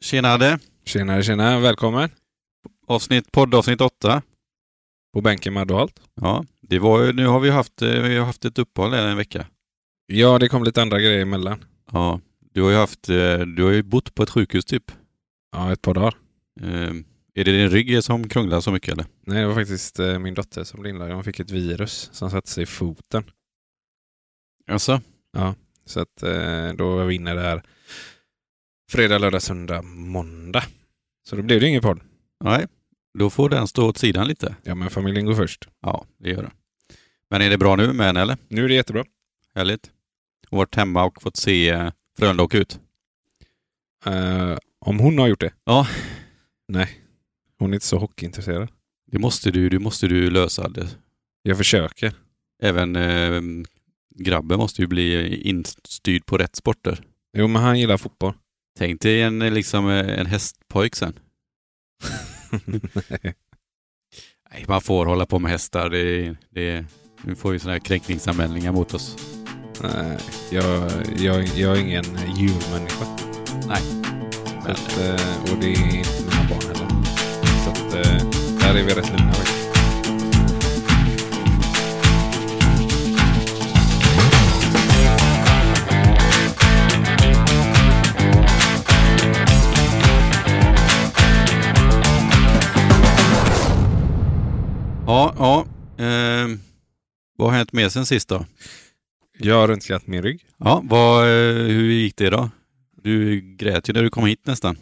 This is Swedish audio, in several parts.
Tjenare! Tjenare, tjenare. Välkommen. Avsnitt, poddavsnitt 8. På bänken med Adolf. Ja, det var ju, nu har vi haft, eh, vi har haft ett uppehåll här en vecka. Ja, det kom lite andra grejer emellan. Ja, du har ju haft, eh, du har ju bott på ett sjukhus typ. Ja, ett par dagar. Eh, Är det din rygg som krånglar så mycket eller? Nej, det var faktiskt eh, min dotter som blev inlagd. Hon fick ett virus som satte sig i foten. Alltså? Så att eh, då var vi inne där fredag, lördag, söndag, måndag. Så då blev det ingen podd. Nej, då får den stå åt sidan lite. Ja, men familjen går först. Ja, det gör den. Men är det bra nu med henne eller? Nu är det jättebra. Härligt. Och varit hemma och fått se eh, Frölunda åka ut. Eh, om hon har gjort det? Ja. Nej, hon är inte så hockeyintresserad. Det måste du, det måste du lösa. Det. Jag försöker. Även eh, grabben måste ju bli instyrd på rätt sporter. Jo, men han gillar fotboll. Tänk dig en, eh, liksom, eh, en hästpojk sen. Nej. Nej, man får hålla på med hästar. Det, det, nu får vi sådana här kränkningsanmälningar mot oss. Nej, Eh, jag, jag, jag är ingen djurmänniska. Nej. Så att, eh, och det är inte mina barn heller. Så att, eh, där är vi rätt lugna faktiskt. Ja, ja. ehm, vad har hänt med sen sist då? Jag har röntgat min rygg. Ja, vad, eh, hur gick det då? Du grät ju när du kom hit nästan.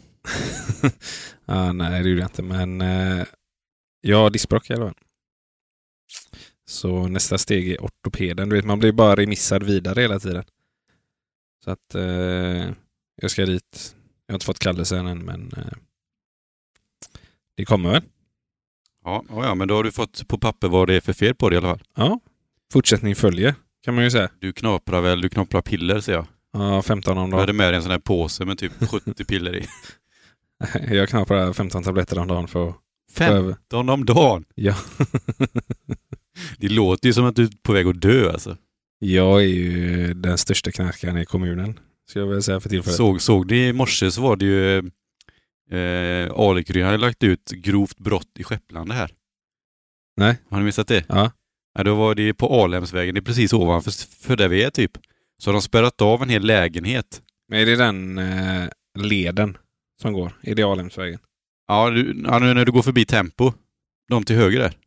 ah, nej, det gjorde jag inte, men eh, jag har diskbråck i alla fall. Så nästa steg är ortopeden. Du vet, man blir bara remissad vidare hela tiden. Så att eh, jag ska dit. Jag har inte fått kallelsen än, men eh, det kommer väl. Ja, ja, ja, men då har du fått på papper vad det är för fel på det i alla fall. Ja, fortsättning följer kan man ju säga. Du knaprar väl, du knaprar piller ser jag. Ja, 15 om Du hade dagen. med dig en sån här påse med typ 70 piller i. Jag knappar 15 tabletter om dagen för att få Fem. över. 15 om dagen! Ja. Det låter ju som att du är på väg att dö alltså. Jag är ju den största knarkaren i kommunen, ska jag väl säga för tillfället. Såg, såg ni i morse så var det ju eh, Alekry hade lagt ut grovt brott i Skepplande här. Nej. Har ni missat det? Ja. ja då var det på Alhemsvägen, det är precis ovanför för där vi är typ. Så har de spärrat av en hel lägenhet. Men är det den eh, leden som går? Är det Alhemsvägen? Ja, du, ja, nu när du går förbi Tempo. De till höger där.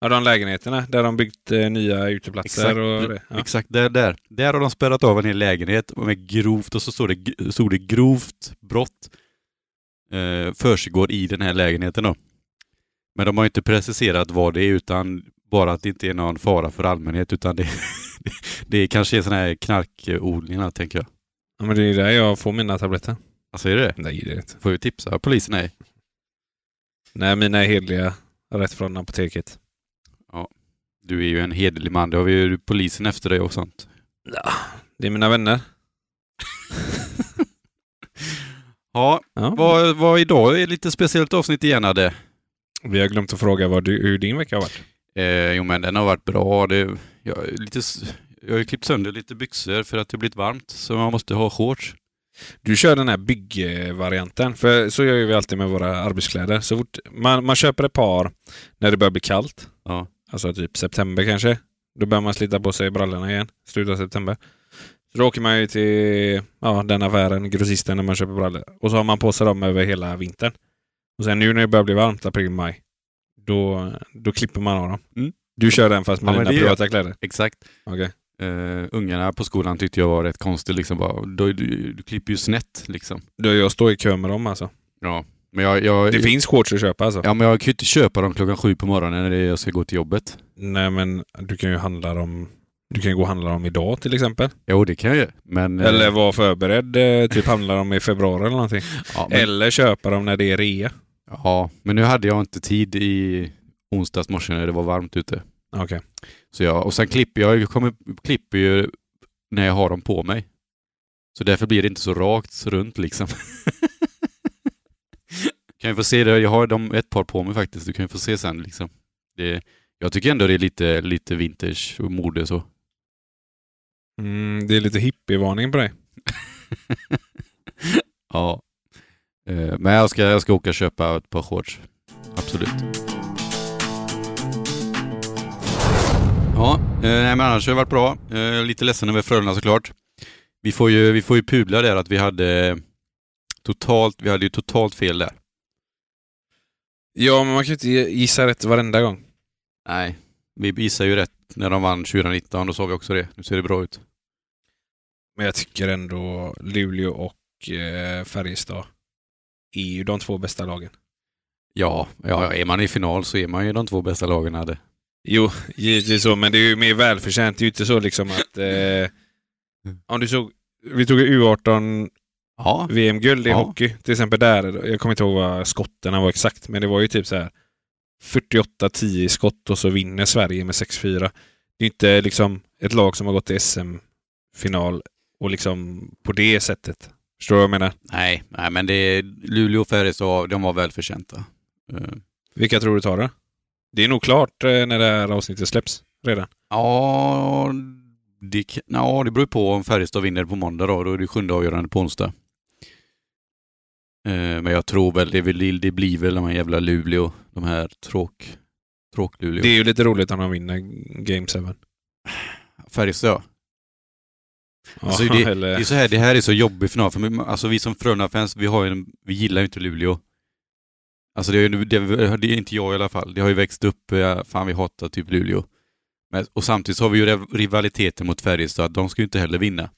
Ja, de lägenheterna där de byggt eh, nya uteplatser och det. Ja. Exakt där, där. Där har de spärrat av en hel lägenhet och med grovt och så står det, stod det grovt brott eh, försiggår i den här lägenheten då. Men de har ju inte preciserat vad det är utan bara att det inte är någon fara för allmänhet utan det, det kanske är sån här knarkodlingar tänker jag. ja, men det är där jag får mina tabletter. Alltså är det det? Nej, det är det inte. Får vi tipsa polisen? Nej. Nej, mina är hederliga. Rätt från apoteket. Du är ju en hederlig man. Det har vi ju polisen efter dig och sånt. Det är mina vänner. Ja, Ja. vad, vad idag är lite speciellt avsnitt igen hade. Vi har glömt att fråga vad du, hur din vecka har varit. Eh, jo men den har varit bra. Det, jag, är lite, s- jag har ju klippt sönder lite byxor för att det blivit varmt så man måste ha shorts. Du kör den här byggvarianten. För så gör ju vi alltid med våra arbetskläder. Så fort man, man köper ett par när det börjar bli kallt. Ja. Alltså typ september kanske. Då börjar man slita på sig brallorna igen. Slutet av september. Så då åker man ju till ja, den affären, grossisten, när man köper brallor. Och så har man på sig dem över hela vintern. Och sen nu när det börjar bli varmt, april, maj. Då, då klipper man av dem. Mm. Du kör den fast med Ja, men dina det gör jag. privata kläder? Exakt. Okej. Eh, ungarna på skolan tyckte jag var rätt konstigt. Liksom. Bara, du, du, du klipper ju snett liksom. Då jag står i kö med dem alltså. Ja. Men jag, jag, Det finns shorts att köpa alltså? ja, men jag kan ju inte köpa dem klockan sju på morgonen när det är- jag ska gå till jobbet. Nej, men du kan ju handla dem. Du kan ju gå och handla dem idag till exempel. Jo, det kan jag ju. Men, eh, Eller vara förberedd. eh, Typ handla dem i februari eller någonting. ja, men, Eller köpa dem när det är rea. ja, men nu hade jag inte tid i onsdags morse när det var varmt ute. Okej. Så jag, och sen klipper jag, jag kommer, klipper ju när jag har dem på mig. Så därför blir det inte så rakt så runt liksom. kan ju få se det, jag har dem ett par på mig faktiskt. Du kan ju få se sen liksom. Det, jag tycker ändå det är lite, lite vintage och mode så. Mm, det är lite hippievarning på dig. ja. Eh, Men jag ska, jag ska åka och köpa ett par shorts. Absolut. Ja, eh, nej, men annars har det varit bra. Eh, Lite ledsen över Frölunda såklart. Vi får ju, vi får ju pudla där att vi hade totalt, vi hade ju totalt fel där. Ja, men man kan ju inte gissa rätt varenda gång. Nej. Vi gissade ju rätt när de vann 2019, då sa vi också det. Nu ser det bra ut. Men jag tycker ändå Luleå och eh, Färjestad är ju de två bästa lagen. Ja, ja, är man i final så är man ju de två bästa lagen hade. Jo, givetvis så, men det är ju mer välförtjänt. Det är ju inte så liksom att... Eh, om du såg... Vi tog ju U18 Ja, VM-guld i Ja. hockey. Till exempel där, jag kommer inte ihåg vad skottarna var exakt, men det var ju typ så här 48-10 i skott och så vinner Sverige med 6-4. Det är inte liksom ett lag som har gått till SM-final och liksom på det sättet. Förstår du vad jag menar? nej, nej men det, Luleå och Färjestad, de var välförtjänta. Eh, Vilka tror du tar det? Det är nog klart eh, när det här avsnittet släpps redan. Ja, det, k- ja, det beror ju på om Färjestad vinner på måndag då. Då är det sjunde avgörande på onsdag. Eh, men jag tror väl, det, är väl- det blir väl de här jävla Luleå, de här tråk... Tråk-Luleå. Det är ju lite roligt om de vinner Game 7. Färjestad ja. Alltså, Ja, eller, Det är så här, det här är så jobbig final för mig. Alltså vi som Frölunda-fans, vi, har ju en- vi gillar ju inte Luleå. Alltså det är, ju- det, det är inte jag i alla fall. Det har ju växt upp, eh, fan vi hatar typ Luleå. Men, och samtidigt så har vi ju rev- rivaliteten mot Färjestad, de ska ju inte heller vinna.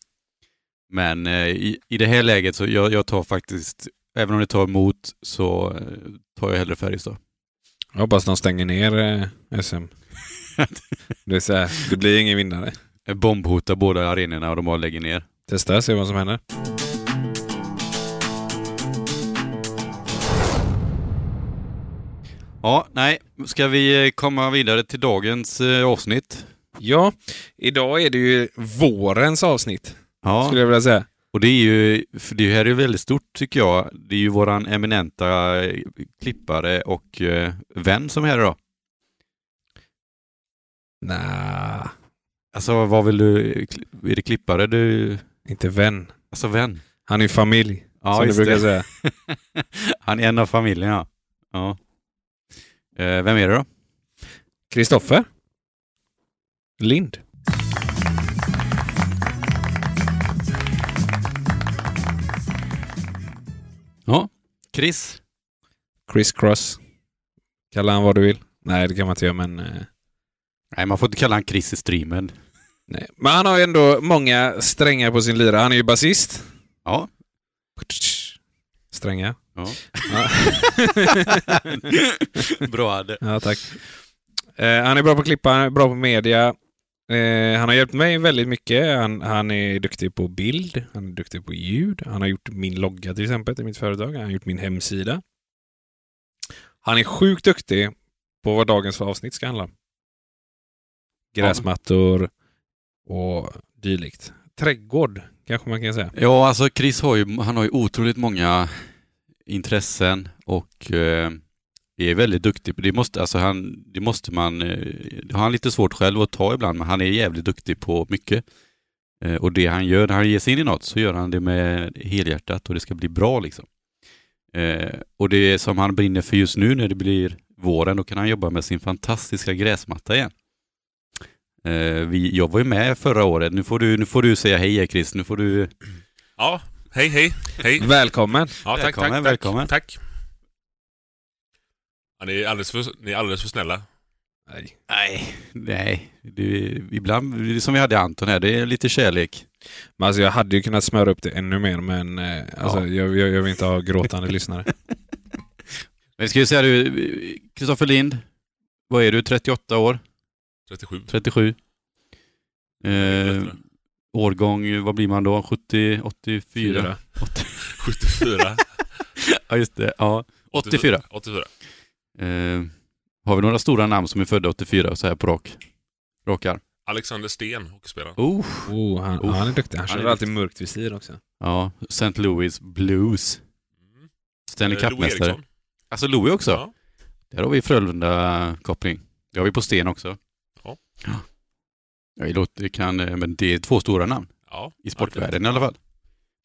Men eh, i, i det här läget så jag, jag tar faktiskt, även om det tar emot, så eh, tar jag hellre Färjestad. Jag hoppas de stänger ner eh, SM. det, är så här, det blir ingen vinnare. Eh, Bombhotar båda arenorna och de bara lägger ner. Testa, se vad som händer. Ja, nej, ska vi eh, komma vidare till dagens eh, avsnitt? Ja, idag är det ju vårens avsnitt, Ja. skulle jag vilja säga. Och det är ju, för det här är ju väldigt stort tycker jag. Det är ju våran eminenta eh, klippare och eh, vän som är här idag. Nä, Alltså vad vill du, eh, är det klippare du, inte vän. alltså vän? Han är ju familj, som du brukar säga. Han är en av familjen ja. ja. Eh, vem är det då? Kristoffer Lind. Chris. Chris Cross. Kalla han vad du vill. Nej, det kan man inte göra, men... eh, Nej, man får inte kalla han Chris i streamen. Nej. Men han har ju ändå många strängar på sin lyra. Han är ju basist. Ja. Strängar. Ja. Ja. Bra hade. Ja, tack. Eh, han är bra på att klippa, han är bra på media. Eh, han har hjälpt mig väldigt mycket. Han, han är duktig på bild, han är duktig på ljud. Han har gjort min logga till exempel till mitt företag. Han har gjort min hemsida. Han är sjukt duktig på vad dagens avsnitt ska handla om. Gräsmattor och dylikt. Trädgård kanske man kan säga. Ja, alltså Chris har ju, han har ju otroligt många intressen och eh, är väldigt duktig. på- Det måste, alltså han, det måste man, eh, det har han lite svårt själv att ta ibland, men han är jävligt duktig på mycket. Eh, och det han gör, när han ger sig in i något så gör han det med helhjärtat och det ska bli bra liksom. Eh, och det som han brinner för just nu när det blir våren, då kan han jobba med sin fantastiska gräsmatta igen. Eh, vi, jag var ju med förra året. Nu får du, nu får du säga hej Chris, nu får du Ja, hej hej. hej. Välkommen! Ja, tack, Välkommen, tack, välkommen. Tack. tack. Ja, ni, är alldeles för, ni är alldeles för snälla. Nej. Nej, nej. Det, ibland, det är som vi hade Anton här, det är lite kärlek. Men alltså jag hade ju kunnat smöra upp det ännu mer men eh, alltså, jag, jag, jag vill inte ha gråtande lyssnare. Men vi ska ju säga du, Kristoffer Lind, vad är du, 38 år, 37. 37? Eh, bättre. årgång, vad blir man då, 70, 84? 74. Ja, just det. Ja. 84. 84. Eh, har vi några stora namn som är födda 84 så här på rak? Rockar. Alexander Sten, hockeyspelaren. Oh. Oh, han, Uff, han är duktig. Han han kör är alltid mörkt visir också. Ja, St. Louis Blues. Mm. Stanley Eh, Lou Cup-mästare. Eriksson. Alltså Louis också? Ja. Där har vi Frölunda-koppling. Det har vi på Sten också. Ja. ja. Jag låter, det kan, eh, men det är två stora namn ja. i sportvärlden i alla fall.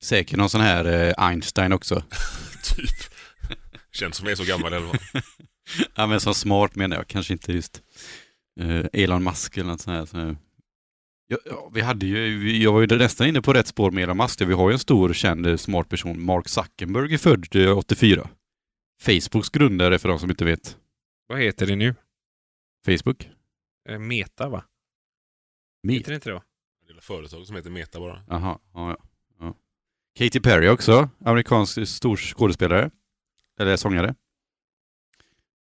Säkert någon sån här eh, Einstein också. typ. Känns som jag är så gammal i alla fall. Ja men som smart menar jag, kanske inte just eh, Elon Musk eller något sånt här. Så, ja, ja, vi hade ju, vi- jag var ju nästan inne på rätt spår med Elon Musk. Vi har ju en stor känd eh, smart person, Mark Zuckerberg är född eh, 84. Facebooks grundare för de som inte vet. Vad heter det nu? Facebook? Eh, Meta va? Heter det inte det? va? Det är ett företag som heter Meta bara. Jaha, ja, ja, ja. Katy Perry också, amerikansk stor skådespelare. Eller sångare.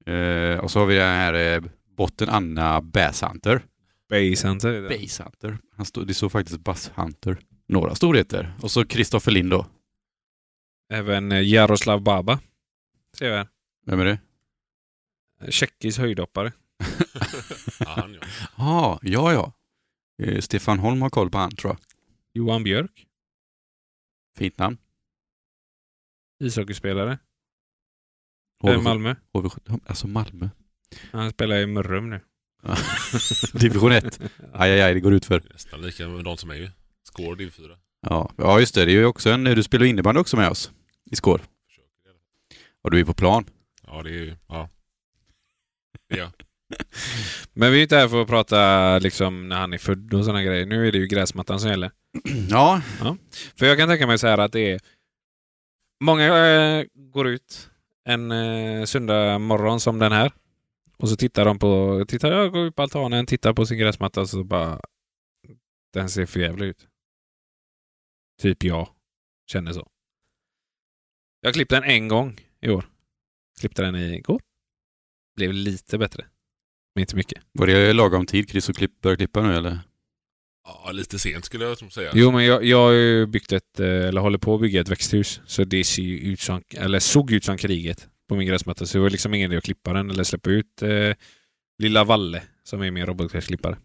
Eh, och så har vi den här eh, botten Anna Basshunter. Base Hunter är det. Base Hunter. Han stod, det stod faktiskt Bass Hunter. Några storheter. Och så Kristoffer Lind då. Även eh, Jaroslav Baba. Ser jag här. Vem är det? Eh, Tjeckisk höjdhoppare. Ja, han ja. ah, ja, ja. Eh, Stefan Holm har koll på han tror jag. Johan Björk. Fint namn. Ishockeyspelare. HV, Eh, Malmö. HV, alltså Malmö. Han spelar i Mörrum nu. Division 1. Aj, aj, aj, det går ut för. Det är Nästan lika med de som är ju. Skår div 4. Ja. ja, just det. Det är ju också en... Du spelar ju innebandy också med oss. I skår. Och du är på plan. Ja, det är ju... Ja. Men vi är inte här för att prata liksom när han är född och sådana grejer. Nu är det ju gräsmattan som gäller. ja. För jag kan tänka mig så här att det är... Många eh, går ut en eh, söndag morgon som den här. Och så tittar de på... Tittar, jag går ut på altanen, tittar på sin gräsmatta och så bara... Den ser för jävlig ut. Typ jag känner så. Jag klippte den en gång i år. Klippte den igår. Blev lite bättre. Men inte mycket. Var det lagom tid Chris att klipp, börja klippa nu eller? ja, lite sent skulle jag tro säga. Jo, men jag, jag har ju byggt ett, eh, eller håller på att bygga ett växthus. Så det ser ju ut som, eller såg ut som kriget på min gräsmatta. Så det var liksom ingen idé att klippa den eller släppa ut eh, lilla Valle som är min robotgräsklippare.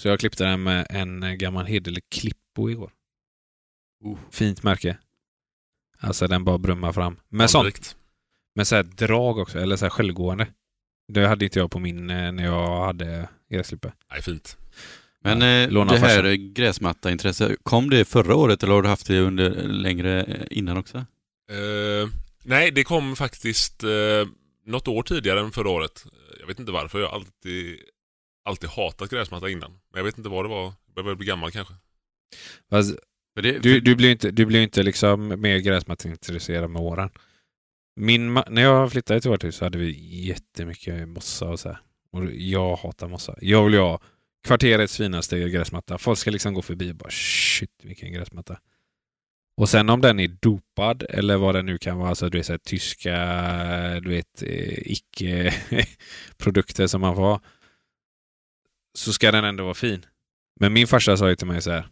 Så jag klippte den med en gammal hederlig Klippo igår. Oh. Fint märke. Alltså den bara brummar fram. Men sånt Anrikt. men så här drag också, eller så här självgående. Det hade inte jag på min eh, när jag hade gräsklippare. Nej, fint. Men eh, låna det av farsan. här gräsmattaintresset, kom det förra året eller har du haft det under längre eh, innan också? Eh, nej, det kom faktiskt eh, något år tidigare än förra året. Jag vet inte varför. Jag har alltid, alltid hatat gräsmatta innan. Men jag vet inte vad det var. Jag börjar väl bli gammal kanske. Fast För det, Du, du blir inte, du blir inte liksom mer gräsmatteintresserad med åren. Min ma- när jag flyttade till vårt hus så hade vi jättemycket mossa och så här. Och jag hatar mossa. Jag vill ju ha kvarterets finaste gräsmatta. Folk ska liksom gå förbi och bara shit vilken gräsmatta. Och sen om den är dopad eller vad den nu kan vara, alltså du vet så här, tyska du vet, eh, icke-produkter som man får ha. Så ska den ändå vara fin. Men min farsa sa ju till mig så här.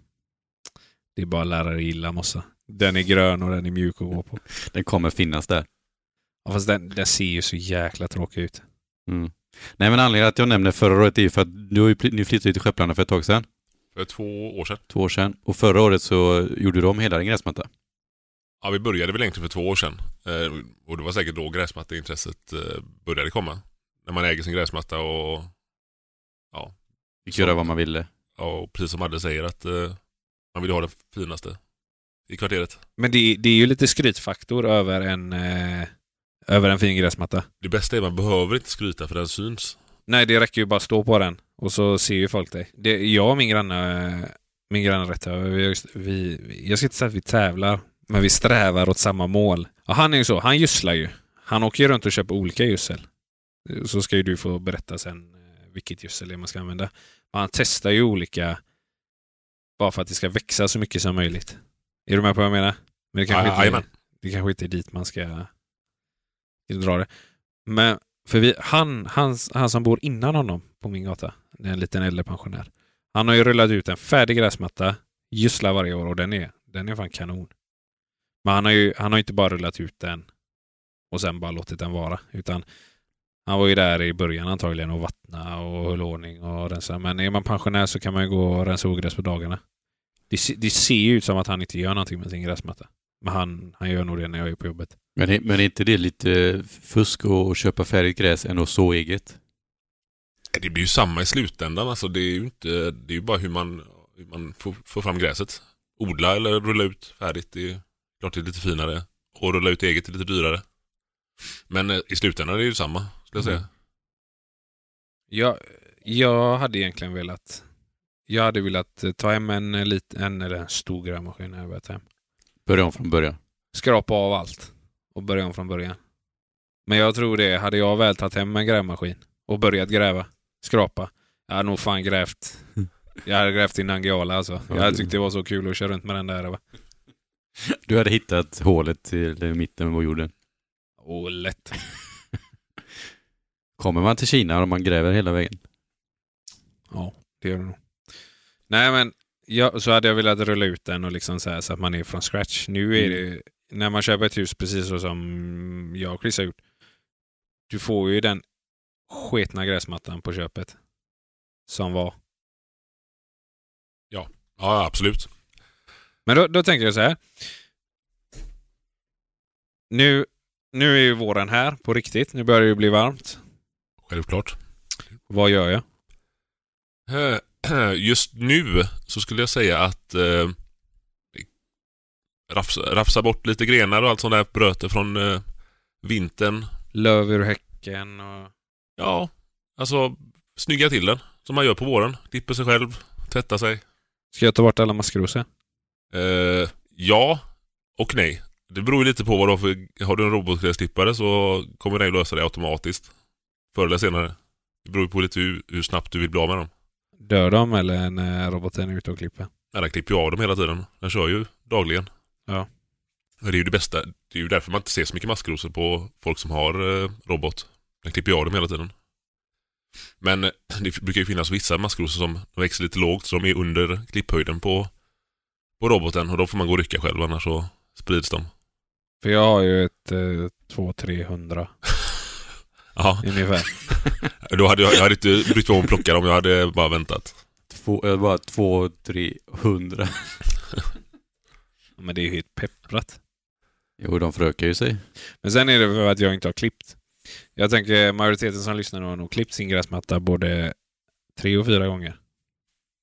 Det är bara lärare gillar mossa. Den är grön och den är mjuk att gå på. den kommer finnas där. Ja, fast den, den ser ju så jäkla tråkig ut. Mm. Nej men anledningen att jag nämner förra året är ju för att du har ju pl- ni flyttade ju till Skepplanda för ett tag sedan, För två år sedan. två år sedan. Och förra året så gjorde de hela din gräsmatta. Ja, vi började väl egentligen för två år sedan. Eh, och det var säkert då gräsmatteintresset eh, började komma. När man äger sin gräsmatta och, Fick Så. göra vad man ville. och precis som Adde säger att eh, man vill ha det finaste i kvarteret. Men det, det är ju lite skrytfaktor över en, eh, över en fin gräsmatta. Det bästa är att man behöver inte skryta för den syns. Nej, det räcker ju bara att stå på den och så ser ju folk dig. Det, jag och min granne, eh, min granne rätt över, vi, vi, jag ska inte säga att vi tävlar, men vi strävar åt samma mål. Ja, han är ju så, han gödslar ju. Han åker ju runt och köper olika gödsel. Så ska ju du få berätta sen eh, vilket gödsel det är man ska använda. Men han testar ju olika bara för att det ska växa så mycket som möjligt. Är du med på vad jag menar? Men det kanske, Ja, inte, jajamän. är, det kanske inte är dit man ska dra det. Men för vi, han, han, han som bor innan honom på min gata, det är en liten äldre pensionär. Han har ju rullat ut en färdig gräsmatta, gödslar varje år och den är, den är fan kanon. Men han har ju han har inte bara rullat ut den och sen bara låtit den vara. Utan han var ju där i början antagligen och vattna och höll ordning och rensa. Men är man pensionär så kan man ju gå och rensa ogräs på dagarna. Det, se- det ser ju ut som att han inte gör någonting med sin gräsmatta. Men han, han gör nog det när jag är på jobbet. Men, det- men är inte det lite fusk att köpa färdigt gräs än att så eget? Det blir ju samma i slutändan. Alltså, det är ju inte, det är ju bara hur man, hur man får, får fram gräset. Odla eller rulla ut färdigt. Det är klart det är lite finare. och rulla ut eget är lite dyrare. Men eh, i slutändan är det ju samma, skulle jag säga. Jag, jag hade egentligen velat... Jag hade velat eh, ta hem en, eh, lit, en, eller en stor grävmaskin. när Jag börjat ta hem. Börja om från början. Skrapa av allt och börja om från början. Men jag tror det, hade jag väl tagit hem en grävmaskin och börjat gräva, skrapa, jag hade nog fan grävt. Jag hade grävt i Nangijala alltså. Jag hade tyckt det var så kul att köra runt med den där. Va? Du hade hittat hålet till eh, mitten av jorden. Åh, lätt. Kommer man till Kina och man gräver hela vägen? Ja, det gör det nog. Nej, men jag, så hade jag velat rulla ut den och liksom så, här, så att man är från scratch. Nu är det, när man köper ett hus, precis så som jag och Chris har gjort, du får ju den sketna gräsmattan på köpet. Som var. Ja, absolut. Men då, då tänker jag så här. Nu, nu är ju våren här på riktigt. Nu börjar det ju bli varmt. Självklart. Vad gör jag? Eh, Just nu så skulle jag säga att eh, rafsa, rafsa bort lite grenar och allt sånt där bröte från eh, vintern. Löv ur häcken och... Ja, alltså snygga till den som man gör på våren. Klipper sig själv, tvättar sig. Ska jag ta bort alla maskrosor? Eh, ja och nej. Det beror ju lite på vad du har för... Har du en robotgräsklippare så kommer den ju lösa det automatiskt. Förr eller senare. Det beror ju på lite hur, hur snabbt du vill bli av med dem. Dör de eller när roboten är ute och klipper? Nej, den klipper ju av dem hela tiden. Den kör ju dagligen. Ja. Men Det är ju det bästa. Det är ju därför man inte ser så mycket maskrosor på folk som har eh, robot. Den klipper ju av dem hela tiden. Men eh, det brukar ju finnas vissa maskrosor som de växer lite lågt, så de är under klipphöjden på, på roboten. Och då får man gå och rycka själv, annars så sprids de. För jag har ju ett eh, 200-300 Ja, ungefär. då hade jag, jag hade inte brytt mig om att plocka dem. Jag hade bara väntat. Två, eh, bara två, tre, hundra. Ja, Men det är ju helt pepprat. Jo, de förökar ju sig. Men sen är det för att jag inte har klippt. Jag tänker majoriteten som lyssnar nu har nog klippt sin gräsmatta både tre och fyra gånger.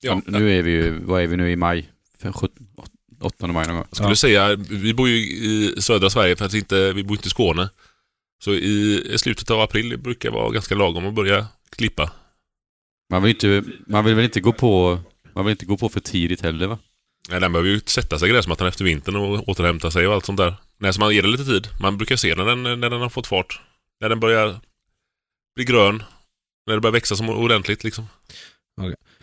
Ja, Men Nu är vi ju, vad är vi nu i maj? Fem- sjutton- åt- åttonde maj någon gång. Jag skulle säga, vi bor ju i södra Sverige för att inte, vi bor inte i Skåne. Så i i slutet av april brukar vara ganska lagom att börja klippa. Man vill, inte, man vill väl inte gå på, man vill inte gå på för tidigt heller va? Nej, den behöver ju sätta sig i gräsmattan efter vintern och återhämta sig och allt sånt där. Nej, så man ger det lite tid. Man brukar se när den, när den har fått fart. När den börjar bli grön. När det börjar växa som ordentligt liksom.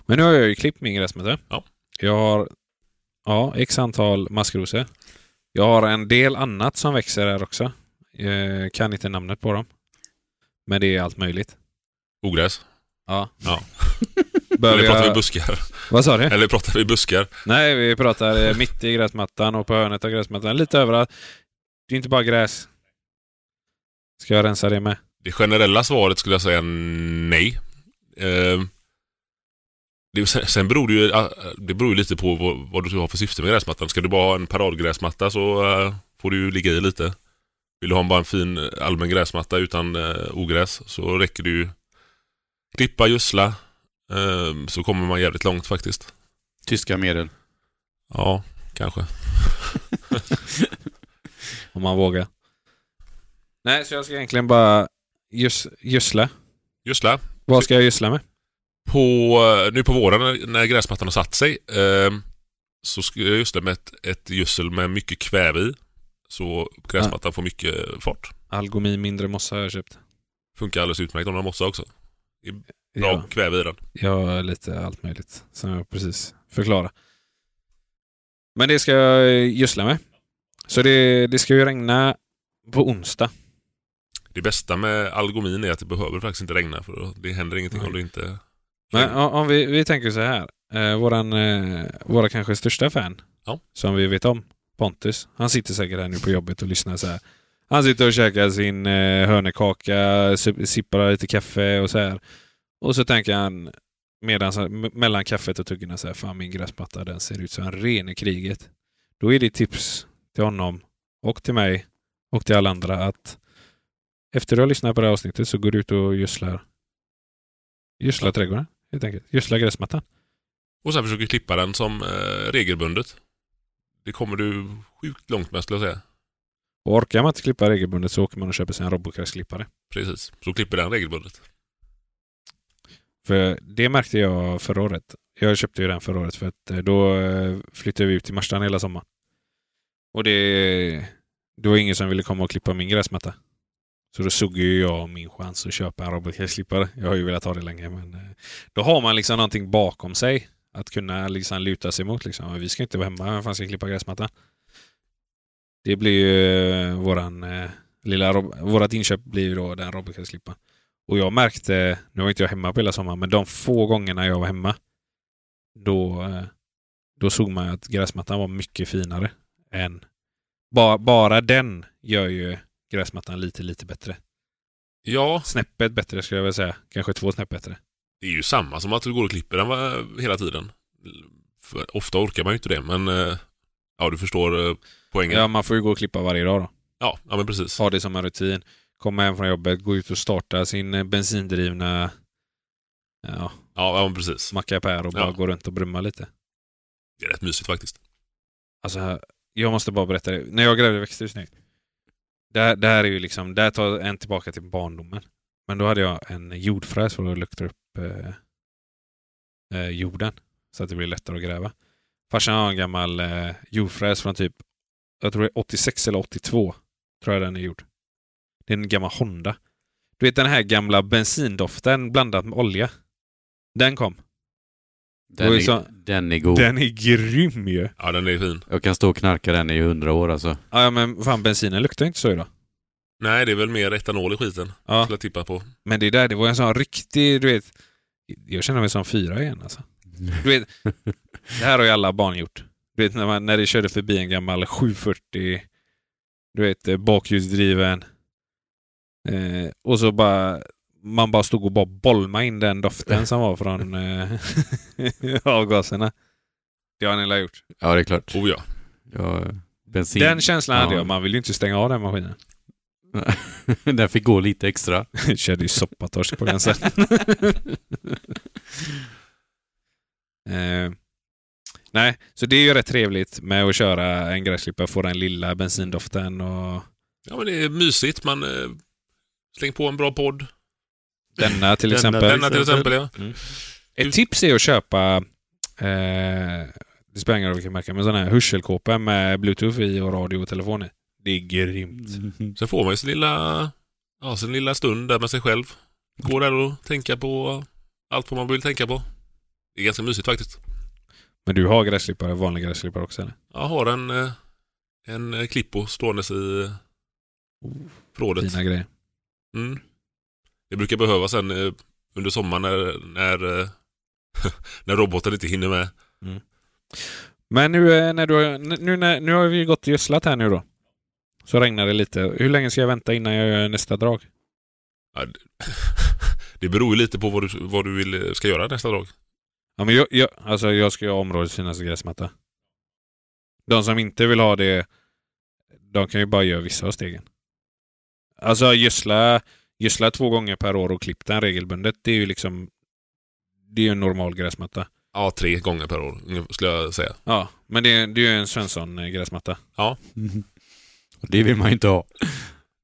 Men nu har jag ju klippt min gräsmatta. Ja. Jag har ja, x antal maskrosor. Jag har en del annat som växer här också. Eh, kan inte namnet på dem. Men det är allt möjligt. Ogräs. Ja. Ja. Behöver Eller pratar vi jag... buskar? Vad sa du? Eller pratar vi buskar? Nej, vi pratar eh, mitt i gräsmattan och på hörnet av gräsmattan. Lite överallt. Det är inte bara gräs. Ska jag rensa det med? Det generella svaret skulle jag säga nej. Eh, det, sen sen beror det ju, ah, det beror ju lite på vad, vad du har för syfte med gräsmattan. Ska du bara ha en paradgräsmatta så eh, får du ju ligga i lite. Vill du ha en- bara en fin eh, allmän gräsmatta utan eh, ogräs så räcker det ju klippa, gödsla. eh, så kommer man jävligt långt faktiskt. Tyska medel. Ja, kanske. Om man vågar. Nej, så jag ska egentligen bara göds- gödsla. Gödsla. Vad ska jag gödsla med? På, eh, nu på våren när- när gräsmattan har satt sig eh, så ska jag gödsla med ett, ett gödsel med mycket kväve i. Så gräsmattan får mycket fart. Algomi mindre mossa har jag köpt. Funkar alldeles utmärkt om den har mossa också. Bra Ja, kväve i den. jag har lite allt möjligt som jag precis förklarade. Men det ska jag gödsla med. Så det, det ska ju regna på onsdag. Det bästa med algomin är att det behöver faktiskt inte regna för då- det händer ingenting Nej. om du inte... Men o- om vi, vi tänker så här. Eh, våran, eh, våra kanske största fan, Ja. som vi vet om, Pontus, han sitter säkert här nu på jobbet och lyssnar så här. Han sitter och käkar sin eh, hörnekaka, si- sippar lite kaffe och så här. Och så tänker han, medans, han- m- mellan kaffet och tuggorna så här, fan min gräsmatta den ser ut som en ren i kriget. Då är det tips till honom och till mig och till alla andra att efter du har lyssnat på det här avsnittet så går du ut och gödslar gödslar trädgården helt enkelt. Gödsla gräsmattan. Och sen försöker klippa den som eh, regelbundet. Det kommer du sjukt långt med skulle jag säga. Och orkar man inte klippa regelbundet så åker man och köper sig en Robocrash-klippare. Precis. Så klipper den regelbundet. För det märkte jag förra året. Jag köpte ju den förra året för att eh, då eh, flyttade vi ut till Marstrand hela sommaren. Och det, det var ingen som ville komma och klippa min gräsmatta. Så då såg ju jag min chans att köpa en robotgräsklippare. Jag har ju velat ha det länge men eh, då har man liksom någonting bakom sig att kunna liksom luta sig mot. Liksom. Vi ska inte vara hemma, vem fan ska klippa gräsmattan? Det blir ju eh, våran eh, lilla, rob- vårat inköp blir ju då den robotgräsklipparen. Och jag märkte, nu var inte jag hemma på hela sommaren, men de få gångerna jag var hemma då, eh, då såg man att gräsmattan var mycket finare än... Bara, bara den gör ju gräsmattan lite, lite bättre. Ja, Snäppet bättre skulle jag vilja säga. Kanske två snäpp bättre. det är ju samma som att du går och klipper den va, hela tiden. För ofta orkar man ju inte det, men eh, ja, du förstår eh, poängen. Ja, Ja, man får ju gå och klippa varje dag då. ja, men precis. Ha det som en rutin. Komma hem från jobbet, gå ut och starta sin eh, bensindrivna ja, Ja, ja men precis. mackapär och bara Ja. gå runt och brumma lite. Det är rätt mysigt faktiskt. Alltså, här- jag måste bara berätta det. När jag grävde växthus nu. Där, där är ju liksom, där tar en tillbaka till barndomen. Men då hade jag en jordfräs för att lukta upp eh, eh, jorden. Så att det blir lättare att gräva. Farsan har en gammal eh, jordfräs från typ, jag tror det är 86 eller 82. Tror jag den är gjord. Det är en gammal Honda. Du vet den här gamla bensindoften blandat med olja. Den kom. Den Och är, så- den är god. Den är grym ju. Ja, den är fin. Jag kan stå och knarka den i hundra år alltså. Ja men fan bensinen luktar inte så idag. Nej, det är väl mer etanol i skiten, Ja. skulle jag tippa på. Men det där, det var en sån riktig, du vet. Jag känner mig som fyra igen alltså. Du vet, det här har ju alla barn gjort. Du vet när, man, när det körde förbi en gammal 740, du vet eh, bakhjulsdriven. Eh, och så bara, man bara stod och bara bolma in den doften som var från eh, avgaserna. Det har ni alla gjort. Ja, det är klart. Oh ja. Ja, bensin. Den känslan hade Ja. jag. Man vill ju inte stänga av den maskinen. den fick gå lite extra. Körde ju soppatorsk på den sen. Eh, nej, så det är ju rätt trevligt med att köra en gräsklippare, få den lilla bensindoften och Ja, men det är mysigt. Man eh, slänger på en bra podd. denna till exempel. Denna till exempel, ja. Ett tips är att köpa, eh, det spelar ingen roll vilken märke, men sådana här hörselkåpor med bluetooth i och radio och telefon i. Det är grymt. Mm. Sen får man ju sin lilla, ja, sin lilla stund där med sig själv. Gå där och tänka på allt vad man vill tänka på. Det är ganska mysigt faktiskt. Men du har gräsklippare, vanlig gräsklippare också eller? Jag har en, eh, en eh, klippo ståendes i eh, förrådet. Fina grejer. Mm. Det brukar behövas sen eh, under sommaren när, när, eh, när roboten inte hinner med. Men nu, eh, när du, har- nu, när, nu har vi ju gått och gödslat här nu då. Så regnar det lite. Hur länge ska jag vänta innan jag gör nästa drag? Det beror ju lite på vad du, vad du vill, eh, ska göra nästa dag. Ja, men jag, jag, alltså jag ska ju ha områdets finaste gräsmatta. De som inte vill ha det, de kan ju bara göra vissa av stegen. Alltså gödsla, gödsla två gånger per år och klipp den regelbundet. Det är ju liksom det är ju en normal gräsmatta. Ja, tre gånger per år ungefär, skulle jag säga. Ja, men det, det är ju en eh, Svensson-gräsmatta. Och det vill man ju inte ha.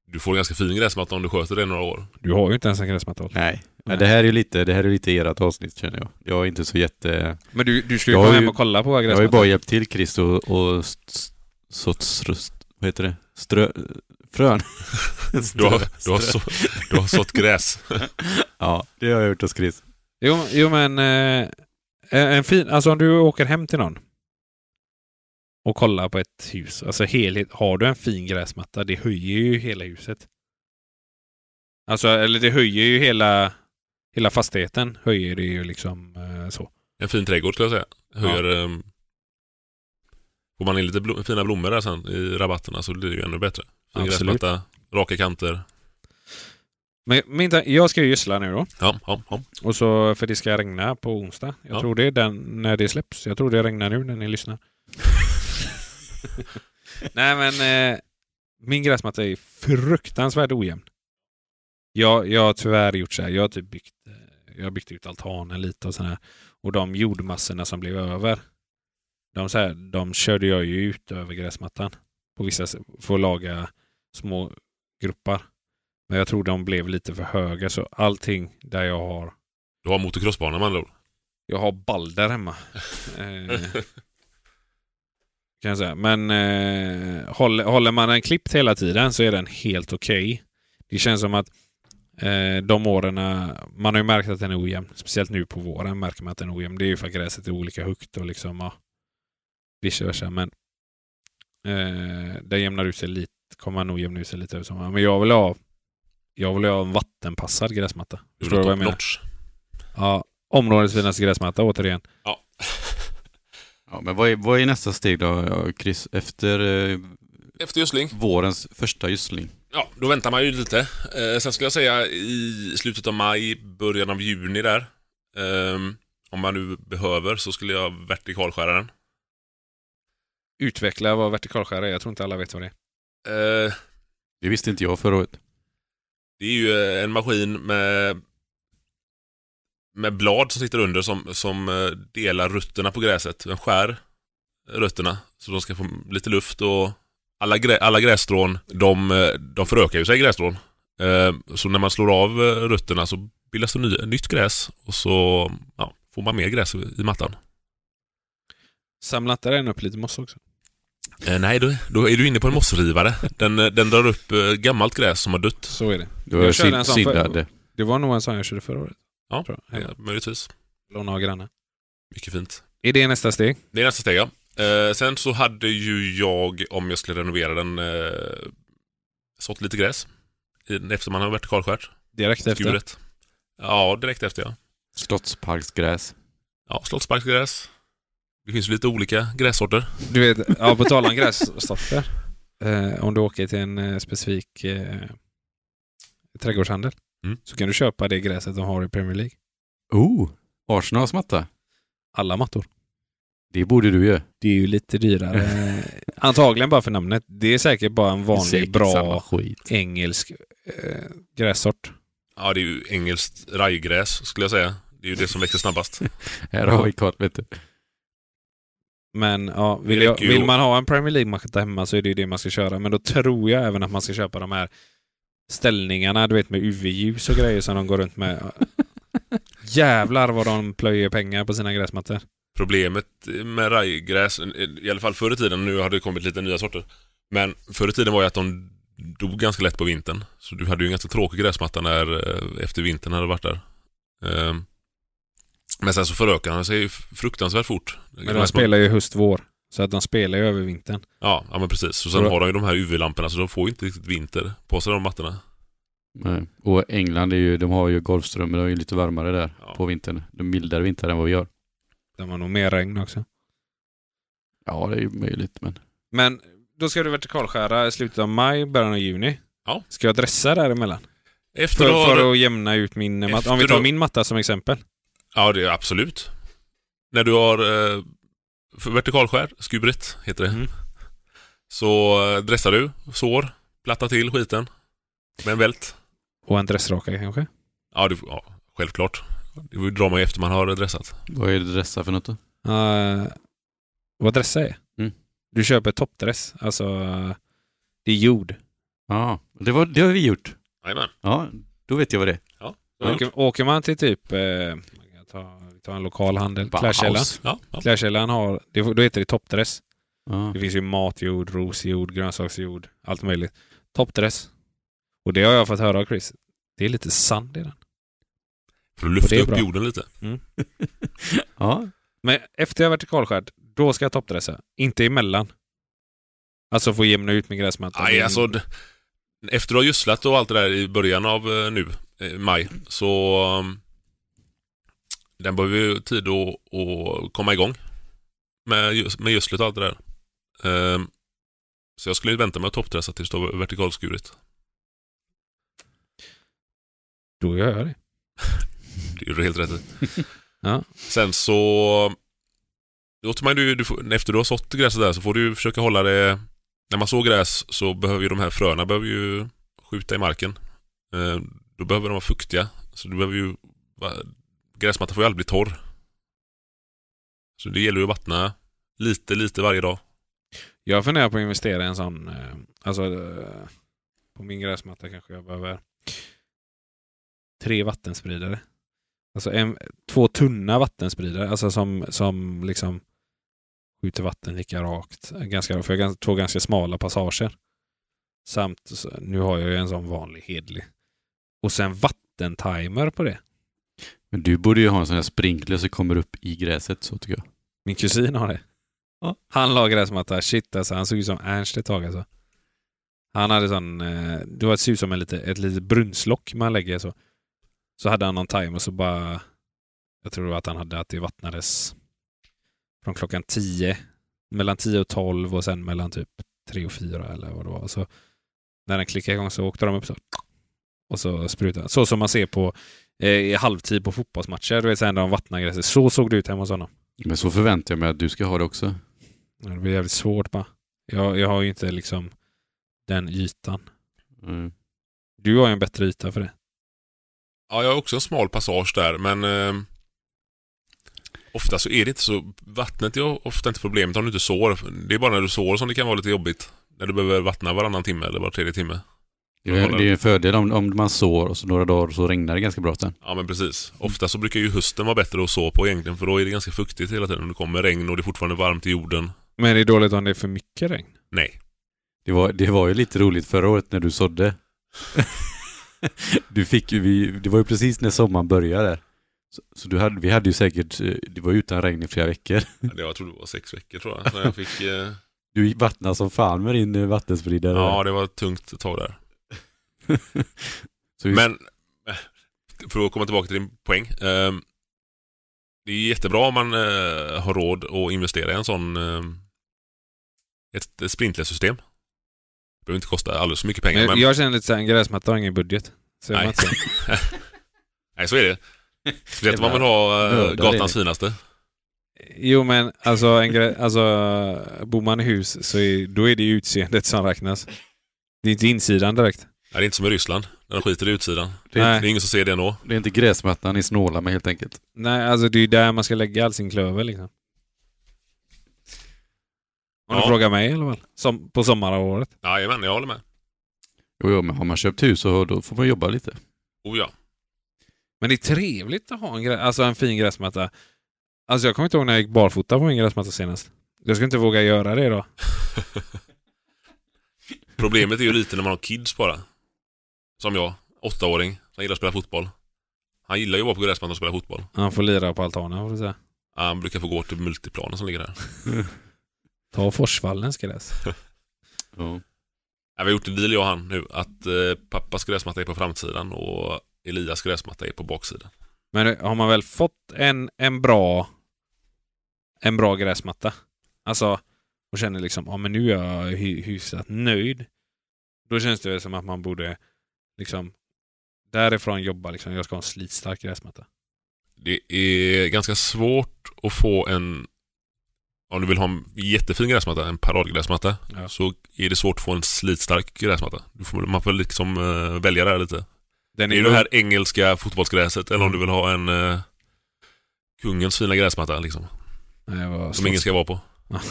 Du får en ganska fin gräsmatta om du sköter det några år. Du har ju inte ens en gräsmatta. Oskar. Nej. Nej. Det här är ju lite, det här är lite ert avsnitt känner jag. Jag är inte så jätte... Men du, du ska ju Jag har komma ju- hem och kolla på våra Jag har ju gräsmattor. bara hjälpt till Chris och, och st- st- så, str- st- vad heter det? Strö... Frön. Du har, du har, Strö. så, du har sått gräs. Ja, det har jag gjort hos Chris. Jo, jo men eh, en fin, alltså om du åker hem till någon och kollar på ett hus, alltså helhet, har du en fin gräsmatta, det höjer ju hela huset. Alltså, eller det höjer ju hela, hela fastigheten, höjer det ju liksom eh, så. En fin trädgård skulle jag säga. Höjer, ehm, får man in lite blom, fina blommor där sen i rabatterna så blir det ju ännu bättre. Fin Absolut. gräsmatta, raka kanter. Men min, ta- jag ska ju gödsla nu då, Ja, ja, ja. och så, för det ska regna på onsdag. Jag Ja. tror det är den, när det släpps. Jag tror det regnar nu när ni lyssnar. Nej men eh, min gräsmatta är fruktansvärt ojämn. Jag, jag har tyvärr gjort så här. Jag har typ byggt, eh, jag har byggt ut altanen lite och sådär. Och de jordmassorna som blev över, de, så här, de körde jag ju ut över gräsmattan. På vissa, s- för att laga små gruppar. Men jag tror de blev lite för höga så allting där jag har Du har motocrossbana med andra ord. jag har Balder hemma. Eh, kan jag säga. Men eh, håller, håller man den klippt hela tiden så är den helt okej. Det känns som att eh, de åren, eh, man har ju märkt att den är ojämn. Speciellt nu på våren märker man att den är ojämn. Det är ju för att gräset är olika högt och liksom ja, vice versa. Men eh, den jämnar ut sig lite, kommer nog jämna ut sig lite över sommaren. Men jag vill ha, jag vill ha en vattenpassad gräsmatta. Förstår du vad jag menar? Notch. Ja, områdets finaste gräsmatta återigen. Ja. Ja, men vad är, vad är nästa steg då, ja, Chris? Efter eh, Efter gödsling. vårens första gödsling? Ja, då väntar man ju lite. Eh, sen skulle jag säga i slutet av maj, början av juni där. ehm, om man nu behöver så skulle jag vertikalskära den. Utveckla vad vertikalskär är. Jag tror inte alla vet vad det är. Eh, Det visste inte jag förra året. det är ju eh, en maskin med, med blad som sitter under som, som eh, delar rötterna på gräset. Den skär rötterna så de ska få lite luft och alla, grä, alla grässtrån, de, eh, de förökar ju sig grässtrån. Eh, så när man slår av eh, rötterna så bildas det ny, nytt gräs och så ja, får man mer gräs i i mattan. Samla inte den upp lite mossa också? Eh, nej, då, då är du inne på en mossrivare. Den, eh, den drar upp eh, gammalt gräs som har dött. Så är det. Du Jag har körde sin- en sån för- sinnade. Det var nog en sån jag körde förra året. Ja. tror jag. Eh, möjligtvis. Låna av grannar. Mycket fint. Är det nästa steg? Det är nästa steg, ja. Eh, sen så hade ju jag, om jag skulle renovera den, eh, sått lite gräs. I- Efter man har vertikalskärt. Direkt efter? Skuret. Ja, direkt efter ja. Slottsparksgräs. Ja, slottsparksgräs. Det finns ju lite olika grässorter. Du vet, ja, på tal om grässorter. Eh, om du åker till en eh, specifik eh, trädgårdshandel Mm. så kan du köpa det gräset de har i Premier League. Oh! Arsenals matta. Alla mattor. Det borde du ju. Det är ju lite dyrare. Eh, Antagligen bara för namnet. Det är säkert bara en vanlig Säkert samma bra skit. engelsk eh, grässort. Ja, det är ju engelskt rajgräs skulle jag säga. Det är ju det som växer snabbast. Här har vi kort, vet du. Men ja, vill, Det jag, räcker ju vill att- man ha en Premier League-match där hemma så är det ju det man ska köra. Men då tror jag även att man ska köpa de här ställningarna, du vet med UV-ljus och grejer som de går runt med. Jävlar vad de plöjer pengar på sina gräsmattor. Problemet med rajgräs, i alla fall förr i tiden, nu har det kommit lite nya sorter. Men förr i tiden var ju att de dog ganska lätt på vintern. Så du hade ju en ganska tråkig gräsmatta när, eh, efter vintern hade varit där. Ehm, Men sen så förökade han sig ju fruktansvärt fort. Men de spelar ju höst-vår. Så att de spelar ju över vintern. Ja, ja, men precis. Och sen har de ju de här UV-lamporna så de får ju inte riktigt vinter på sig de mattorna. Nej. Och England, är ju, de har ju Golfströmmen, de är ju lite varmare där Ja. på vintern. De är mildare vintrar än vad vi gör. De har nog mer regn också. Ja, det är ju möjligt, men... Men då ska du vertikalskära i slutet av maj, början av juni. Ja. Ska jag dressa däremellan? Efter För, att ha- för att jämna ut min eh, matta. Om vi Efter tar då- min matta som exempel. Ja, det är absolut. När du har eh, för- vertikalskär, skubret heter det, Mm. så eh, dressar du, sår, platta till skiten med en vält. Och en dressraka kanske? Ja, du, ja självklart. Det drar man ju efter man har dressat. Vad är det dressa för något då? Eh, vad dressa är? Mm. Du köper toppdress. Alltså, eh, det är jord. Ja, det, var, det har vi gjort. Jajamän. Ja, då vet jag vad det är. Ja. Åker, åker man till typ, eh, man kan ta, ta en lokal handel, Bauhaus. Klädkällan. Ja, ja. Klädkällan har, det, då heter det toppdress. Ja. Mm. Det finns ju matjord, rosjord, grönsaksjord, allt möjligt. Toppdress. Och det har jag fått höra av Chris. Det är lite sand i den. För att lyfta Det är upp bra. jorden lite. ja. Men efter jag vertikalskärd, då ska jag toppdressa. Inte emellan. Alltså få jämna ut min gräsmatta. Nej, Min- alltså, d- efter att ha gödslat och allt det där i början av eh, nu, eh, maj, så um, den behöver ju tid att, att komma igång med, göds- med gödslet och allt det där. Ehm, så jag skulle ju vänta med att toppdressa tills det var vertikalskuret. Då gör jag det. Det gjorde du helt rätt i. Ja. Sen så... Då tar man ju, du får, efter du har sått gräset där så får du ju försöka hålla det... När man sår gräs så behöver ju de här fröna behöver ju skjuta i marken. Eh, Då behöver de vara fuktiga. Så du behöver ju... va- Gräsmattan får ju aldrig bli torr. Så det gäller ju att vattna lite, lite varje dag. Jag funderar på att investera i en sån, eh, alltså eh, på min gräsmatta kanske jag behöver tre vattenspridare. Alltså en, två tunna vattenspridare, alltså som, som liksom skjuter vatten lika rakt. eh, Ganska, för jag har gans- två ganska smala passager. Samt, så- nu har jag ju en sån vanlig hedlig. Och sen vattentimer på det. Men du borde ju ha en sån här sprinkler som kommer upp i gräset så tycker jag. Min kusin har det. Han la gräsmatta. Shit alltså, han såg ut som Ernst ett tag alltså. Han hade sån, eh, det var ser ut som en lite, ett litet brunnslock man lägger så. Så hade han någon timer och så bara, jag tror att han hade att det vattnades från klockan 10, mellan 10 och 12 och sen mellan typ 3 och 4 eller vad det var. Så när den klickade igång så åkte de upp så. Och så sprutade han. Så som man ser på eh, i halvtid på fotbollsmatcher, du vet sen när de vattnar gräset. Så såg det ut hemma hos honom. Men så förväntar jag mig att du ska ha det också. Eh, Ja, Det blir jävligt svårt bara. Jag, jag har ju inte liksom den ytan. Mm. Du har ju en bättre yta för det. Ja, jag har också en smal passage där, men eh, ofta så är det inte så... Vattnet är ofta inte problemet om du inte sår. Det är bara när du sår som det kan vara lite jobbigt. När du behöver vattna varannan timme eller var tredje timme. Det är det är ju en fördel om, om man sår och så några dagar så regnar det ganska bra sen. Ja, men precis. Ofta så brukar ju hösten vara bättre att så på egentligen, för då är det ganska fuktigt hela tiden. Det kommer regn och det är fortfarande varmt i jorden. Men det är dåligt om det är för mycket regn. Nej. Det var, det var ju lite roligt förra året när du sådde. du fick ju, vi, det var ju precis när sommaren började. Så, så du hade, vi hade ju säkert, eh, det var ju utan regn i flera veckor. Ja, det- Jag tror det var sex veckor tror jag. När jag fick, eh... Du gick vattna som fan med din eh, vattenspridare. Ja, det var ett tungt ett tag där. så vi, Men, eh, för att komma tillbaka till din poäng. Eh, det är jättebra om man eh, har råd att investera i en sån eh, ett ett sprinklersystem. Det behöver inte kosta alldeles för mycket pengar. Men men, jag känner lite såhär, en gräsmatta har ingen budget. Så jag Nej. vet inte. Nej, så är det. Speciellt om man vill Jävla ha eh, nördar, gatans Erik. finaste. Jo men alltså, en grä, alltså, bor man i hus så är, då är det ju utseendet som räknas. Det är inte insidan direkt. Nej, det är inte som i Ryssland. När de skiter i utsidan. det, är, Det är ingen som ser det ändå. det är inte gräsmattan ni snålar med helt enkelt. Nej, alltså det är ju där man ska lägga all sin klöver liksom. Om Ja. du frågar mig i alla fall. Som, på sommarhalvåret. Jajamän, jag håller med. Jo, jo, men har man köpt hus så då får man jobba lite. Oh ja. Men det är trevligt att ha en, grä, alltså en fin gräsmatta. Alltså jag kommer inte ihåg när jag gick barfota på min gräsmatta senast. Jag skulle inte våga göra det idag. Problemet är ju lite när man har kids bara. Som jag, åttaåring, som gillar att spela fotboll. Han gillar ju att vara på gräsmattan och spela fotboll. Han får lira på altanen får du säga. Han brukar få gå till multiplanen som ligger där. Ta Forsvallens gräs. Ja. Ja, vi har gjort en deal jag och han nu att eh, pappas gräsmatta är på framsidan och Elias gräsmatta är på baksidan. Men eh, har man väl fått en, en bra en bra gräsmatta. Alltså och känner liksom ja men nu är jag hy- hyfsat nöjd. Då känns det väl som att man borde liksom därifrån jobba liksom. Jag ska ha en slitstark gräsmatta. Det är ganska svårt att få en, om du vill ha en jättefin gräsmatta, en paradgräsmatta, Ja. så är det svårt att få en slitstark gräsmatta. Du får, man får liksom eh, välja där lite. Den Det är det här engelska fotbollsgräset eller om du vill ha en eh, kungens fina gräsmatta liksom. Nej, jag var Som ingen ska vara på. ja,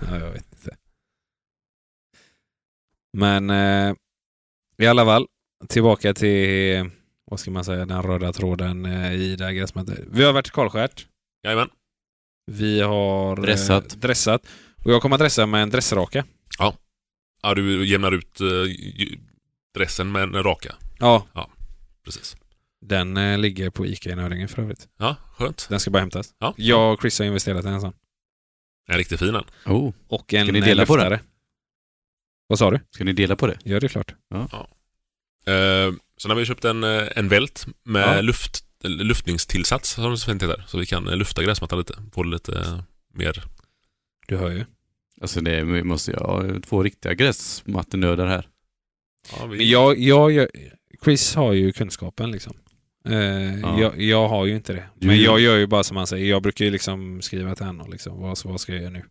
jag vet inte. Men eh, i alla fall, tillbaka till, vad ska man säga, den röda tråden eh, i det här gräsmattan. Vi har varit i Karlskärt. Jajamän. Vi har eh, Dressat. dressat. Och jag kommer att dressa med en dressraka. Ja, du jämnar ut eh, ju- dressen med en raka. Ja, Precis. den eh, ligger på Ica i Nöringen för övrigt. Ja, skönt. Den ska bara hämtas. Ja. Jag och Chris har investerat i en sån. En riktigt fin en. Oh, Och en Ska ni dela eh, på den? luftare. Vad sa du? ska ni dela på det? Ja, det är klart. Eh, sen har vi köpt en, eh, en vält med Ja. luft, eller luftningstillsats som det så fint heter. Så vi kan eh, lufta gräsmattan lite. Få det lite eh, mer. Du hör ju. Alltså det är- vi måste jag två riktiga gräsmattenördar här. Ja, Men vi, jag, jag, gör- Chris har ju kunskapen liksom. Eh, Ja. jag, jag har ju inte det. Du- Men jag gör ju bara som han säger. Jag brukar ju liksom skriva till honom liksom, vad, vad ska jag göra nu?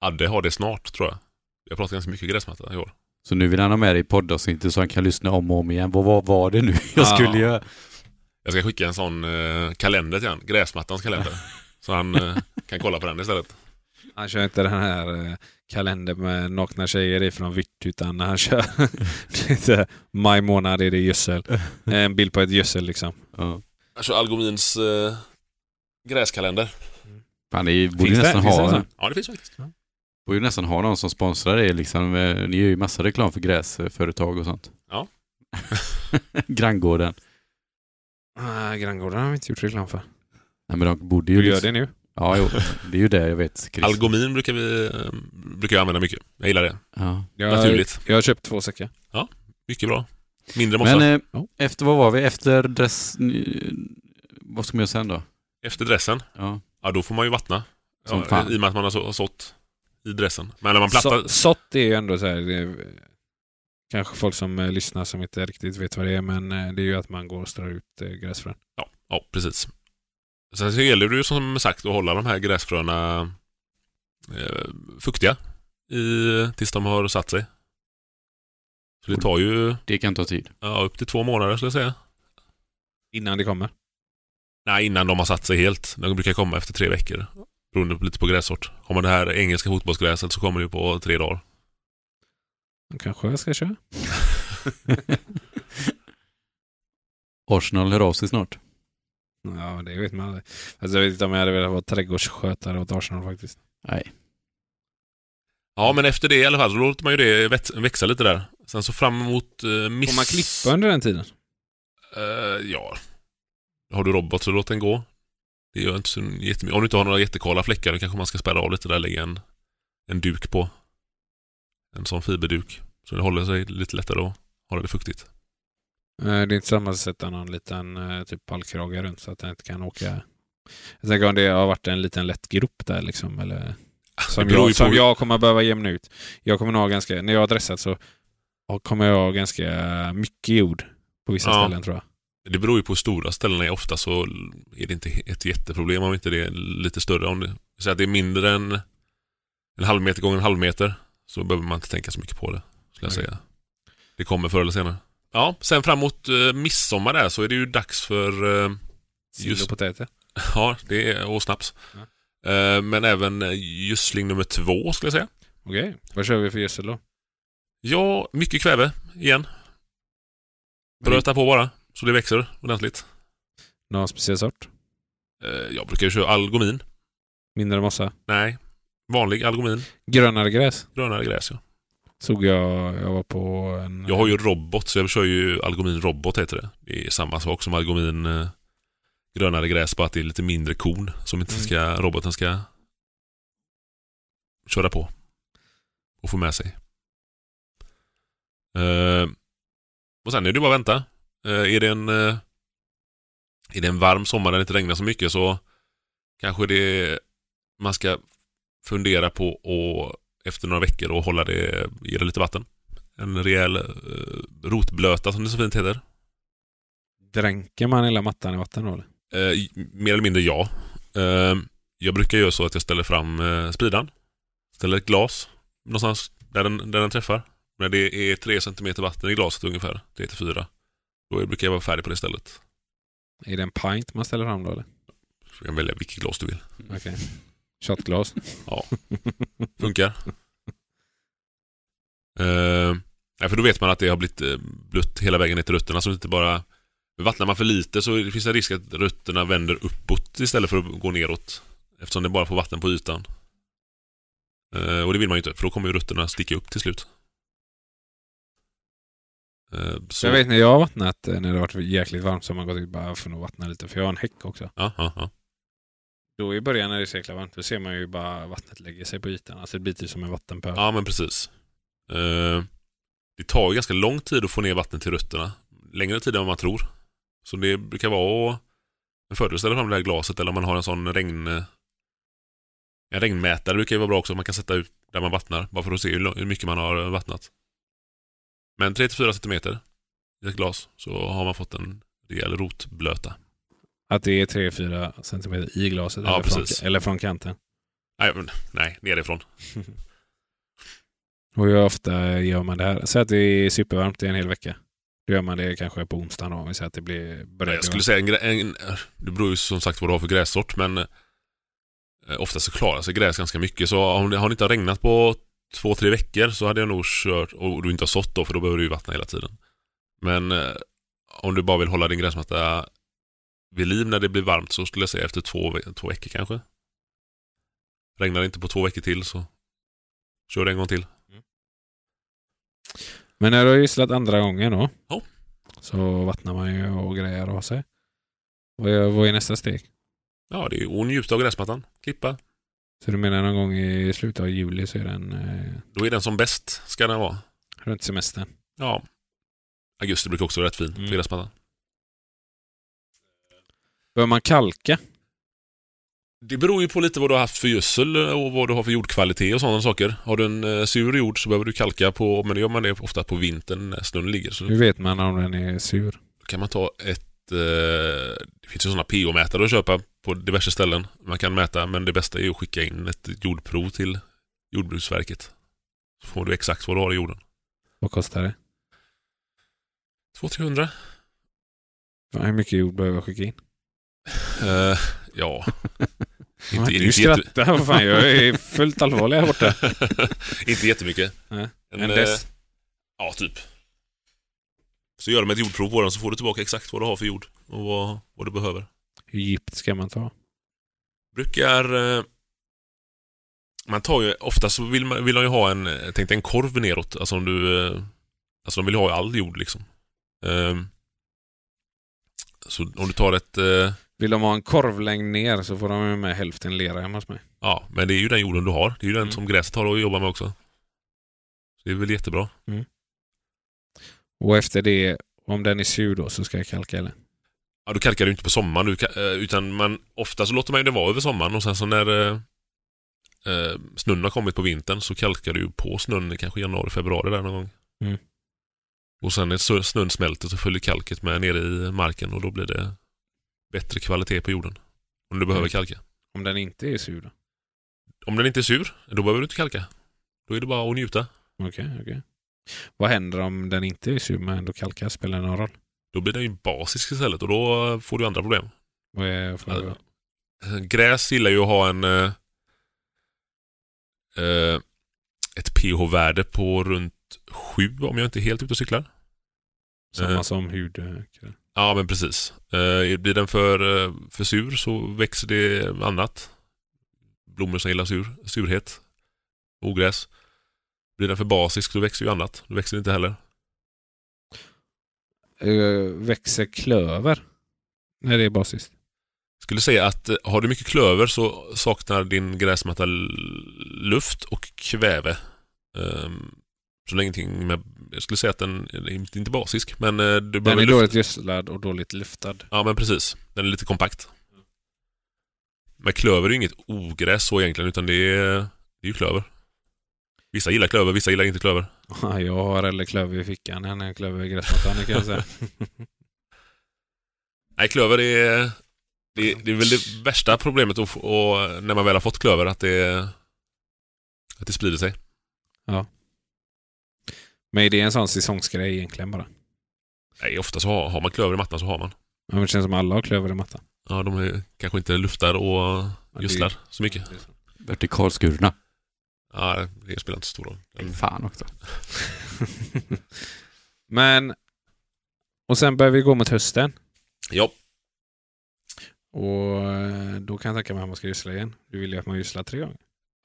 Adde har det snart tror jag. Jag pratat ganska mycket gräsmatta i år. Så nu vill han ha med dig i poddavsnittet så han kan lyssna om och om igen. Vad vad var det nu jag Ja. skulle göra? Jag ska skicka en sån eh, kalender till han. Gräsmattans kalender. så han eh, kan kolla på den istället. Han kör inte den här eh, kalender med nakna tjejer i från Vitthyttan när han kör. Det är så här, Maj månad är det gödsel. En bild på ett gödsel liksom. Ja. Jag kör Alltså, Algomins eh, gräskalender. Fan, det är, borde Finns ju det- nästan, finns det en ha, sån? Ja, det finns faktiskt. borde ju nästan ha någon som sponsrar er liksom. Eh, Ni gör ju massa reklam för gräsföretag och sånt. Ja. Granngården. Ah, Granngården har vi inte gjort reklam för. Nej men de borde ju... Du gör liksom- det nu. Ja, jo. Det är ju det jag vet. Chris. Algomin brukar vi eh, brukar jag använda mycket. Jag gillar det. ja. Jag, Naturligt. jag har köpt två säckar. Mycket bra. Mindre mossa. Men eh, Ja. efter, vad var vi? Efter dress... Vad ska man göra sen då? Efter dressen, Ja. ja då får man ju vattna. Som Ja, fan. I och med att man har så- har sått i dressen. Men när man plattar... Så, sått är ju ändå så här. Det, är- kanske folk som eh, lyssnar som inte riktigt vet vad det är, men eh, det är ju att man går och strör ut eh, gräsfrön. Ja, ja, precis. Sen så gäller det ju som sagt att hålla de här gräsfröna eh, fuktiga i, tills de har satt sig. Så det tar ju Det kan ta tid. ja, upp till två månader skulle jag säga. Innan det kommer. Nej, innan de har satt sig helt. De brukar komma efter tre veckor. Beroende på, lite på grässort. Har man det här engelska fotbollsgräset så kommer det ju på tre dagar. Då Kanske jag ska köra. Arsenal hör av sig snart. Ja, det vet man aldrig. Alltså, jag vet inte om jag hade velat vara trädgårdsskötare åt Arsenal faktiskt. Nej. Ja, men efter det i alla fall, så låter man ju det väx- växa lite där. Sen så fram emot eh, miss... Får man klippa under den tiden? Eh, ja. Har du robot så låt den gå. Det gör inte så jättemycket. Om du inte har några jättekala fläckar då kanske man ska spärra av lite där och lägga en, en duk på. En sån fiberduk. Så det håller sig lite lättare och håller det fuktigt. Eh, Det är inte samma att sätta någon liten eh, typ pallkrage runt så att den inte kan åka. Jag tänker om det har varit en liten lätt grop där liksom. Eller som, Ah, det beror jag, ju som på- jag kommer behöva jämna ut. Jag kommer nog ha ganska, när jag har dressat så har- kommer jag ha ganska mycket jord på vissa Ja. ställen tror jag. Det beror ju på hur stora ställena är. Ofta så är det inte ett jätteproblem om inte det är lite större. Om det, så att det är mindre än en halv meter gånger en halv meter så behöver man inte tänka så mycket på det. Skulle jag Okej. säga. Det kommer förr eller senare. Ja, sen framåt eh, midsommar där så är det ju dags för eh, Sill Just- och potäter. Ja, det är, och snaps. Ja. Eh, Men även eh, gödsling nummer två skulle jag säga. Okej, vad kör vi för gödsel då? Ja, mycket kväve igen. Bröta på bara så det växer ordentligt. Någon speciell sort? Eh, Jag brukar ju köra algomin. Mindre mossa? Nej, vanlig algomin. Grönare gräs? Grönare gräs ja. Såg jag, jag var på en... Jag har ju robot så jag kör ju algomin robot heter det. Det är samma sak som algomin eh, grönare gräs bara att det är lite mindre korn som inte Mm. ska, roboten ska köra på. Och få med sig. Eh, och sen är det bara att vänta. Eh, är, det en, eh, är det en varm sommar där det inte regnar så mycket så kanske det man ska fundera på och efter några veckor och hålla det, ge det lite vatten. En rejäl eh, rotblöta som det så fint heter. Dränker man hela mattan i vatten då? eller? Eh, mer eller mindre ja. Eh, jag brukar göra så att jag ställer fram eh, spridan. Ställer ett glas någonstans där den, där den träffar. När det är tre centimeter vatten i glaset ungefär, tre till fyra. Då brukar jag vara färdig på det stället. Är det en pint man ställer fram då eller? Du kan välja vilket glas du vill. Okej. Shotglas? Ja. Funkar. Eh, nej, för då vet man att det har blivit eh, blött hela vägen ner till rötterna. Så det inte bara... Vattnar man för lite så finns det risk att rötterna vänder uppåt istället för att gå neråt. Eftersom det bara får vatten på ytan. Eh, och det vill man ju inte, för då kommer ju rötterna sticka upp till slut. Eh, så... Jag vet när jag har vattnat eh, när det har varit jäkligt varmt så har man gått ut bara jag får nog vattna lite för jag har en häck också. Ja, ja, ja. Då i början när det är så jäkla varmt då ser man ju bara vattnet lägger sig på ytan. Alltså det blir typ som en vattenpöl. Ja, men precis. Eh, det tar ju ganska lång tid att få ner vattnet till rötterna. Längre tid än vad man tror. Så det brukar vara att- en fördel att ställa fram det där glaset eller om man har en sån regn... En regnmätare brukar ju vara bra också. Man kan sätta ut där man vattnar. Bara för att se hur lång- hur mycket man har vattnat. Men 3-4 centimeter i ett glas så har man fått en rejäl rotblöta. Att det är 3-4 centimeter i glaset Ja, eller, precis. från, eller från kanten. Nej, men- nej nerifrån. Och hur ofta gör man det här? Säg att det är supervarmt i en hel vecka. Då gör man det kanske på onsdagen då, om vi säger att det blir Nej, börjar jag skulle säga en, grä- en, Det beror ju som sagt vad du har för grässort men eh, ofta så klarar sig gräs ganska mycket. Så om det har inte regnat på två, tre veckor så hade jag nog kört, och du inte har sått då för då behöver du ju vattna hela tiden. Men eh, om du bara vill hålla din gräsmatta vid liv när det blir varmt så skulle jag säga efter två, ve- två veckor kanske. Regnar det inte på två veckor till så kör det en gång till. Men när du har gisslat andra gången då. Ja. Så vattnar man ju och grejer och har sig. Vad är, vad är nästa steg? Ja, det är och njuta av gräsmattan. Klippa. Så du menar någon gång i slutet av juli så är den eh, Då är den som bäst ska den vara. runt semestern. Ja. Augusti brukar också vara rätt fin Mm. för gräsmattan. Bör man kalka? Det beror ju på lite vad du har haft för gödsel och vad du har för jordkvalitet och sådana saker. Har du en eh, sur jord så behöver du kalka på, men det gör man det ofta på vintern när snön ligger. Så Hur vet man om den är sur? kan man ta ett... Eh, det finns ju sådana pH-mätare att köpa på diverse ställen. Man kan mäta, men det bästa är ju att skicka in ett jordprov till Jordbruksverket. Så får du exakt vad du har i jorden. Vad kostar det? 200-300. Fan, hur mycket jord behöver jag skicka in? Eh, ja. Inte, du inte jätte- skrattar. Vad fan, jag är fullt allvarlig här borta. inte jättemycket. Nej. En, En eh, dess. Ja, typ. Så gör de ett jordprov på den så får du tillbaka exakt vad du har för jord och vad, vad du behöver. Hur djupt ska man ta? Brukar... eh, Man tar ju... Ofta så vill, man, vill de ju ha en... eh, Tänk dig en korv neråt. Alltså om du... eh, Alltså de vill ha all jord liksom. Ehm, Så om du tar ett... eh, Vill de ha en korvlängd ner så får de ju med hälften lera hemma hos mig. Ja, men det är ju den jorden du har. Det är ju den Mm. som gräset har att jobba med också. Så det är väl jättebra. Och efter det, om den är sur då, så ska jag kalka eller? Ja, du kalkar ju inte på sommaren du, ka- eh, utan man, ofta så låter man ju det vara över sommaren och sen så när eh, eh, snön har kommit på vintern så kalkar du ju på snön i kanske januari, februari där någon gång. Mm. Och sen när sö- snön smälter så följer kalket med nere i marken och då blir det bättre kvalitet på jorden. Om du behöver Mm. kalka. Om den inte är sur då? Om den inte är sur, då behöver du inte kalka. Då är det bara att njuta. Okej, okej. Vad händer om den inte är sur men ändå kalkas? Spelar det någon roll? Då blir den ju basisk istället och då eh, får du andra problem. Vad är för Alltså, Gräs gillar ju att ha en... eh, eh, ett pH-värde på runt 7 om jag inte är helt ute och cyklar. Samma eh. som hud. eh, Ja, men precis. Eh, blir den för, eh, för sur så växer det annat. Blommor som gillar sur, surhet. Ogräs. Blir den för basisk så växer ju annat. Då växer det inte heller. Eh, Växer klöver? Nej, det är basiskt. Skulle säga att eh, har du mycket klöver så saknar din gräsmatta l- luft och kväve. Ehm, så det är ingenting med, jag skulle säga att den är inte inte basisk, men eh, du Den behöver är luft. dåligt gödslad och dåligt luftad. Ja, men precis. Den är lite kompakt. Men klöver är ju inget ogräs så egentligen, utan det är, det är ju klöver. Vissa gillar klöver, vissa gillar inte klöver. Ja, Jag har eller klöver i fickan än en klöver i gräsmattan det kan jag säga. Nej, klöver är... Det, det är väl det värsta problemet att, få- och, när man väl har fått klöver, att det, att det sprider sig. Men är det en sån säsongsgrej egentligen bara? Nej, ofta så har, har man klöver i mattan så har man. Ja, men Det känns som alla har klöver i mattan. Ja, de är, kanske inte luftar och det- gödslar så mycket. Vertikalskurna. Ja, det spelar inte så stor roll. Mm. Men Fan också. men... Och sen börjar vi gå mot hösten. Ja, Och eh, då kan jag tänka mig att man ska gödsla igen. Du vill ju att man gödslar tre gånger.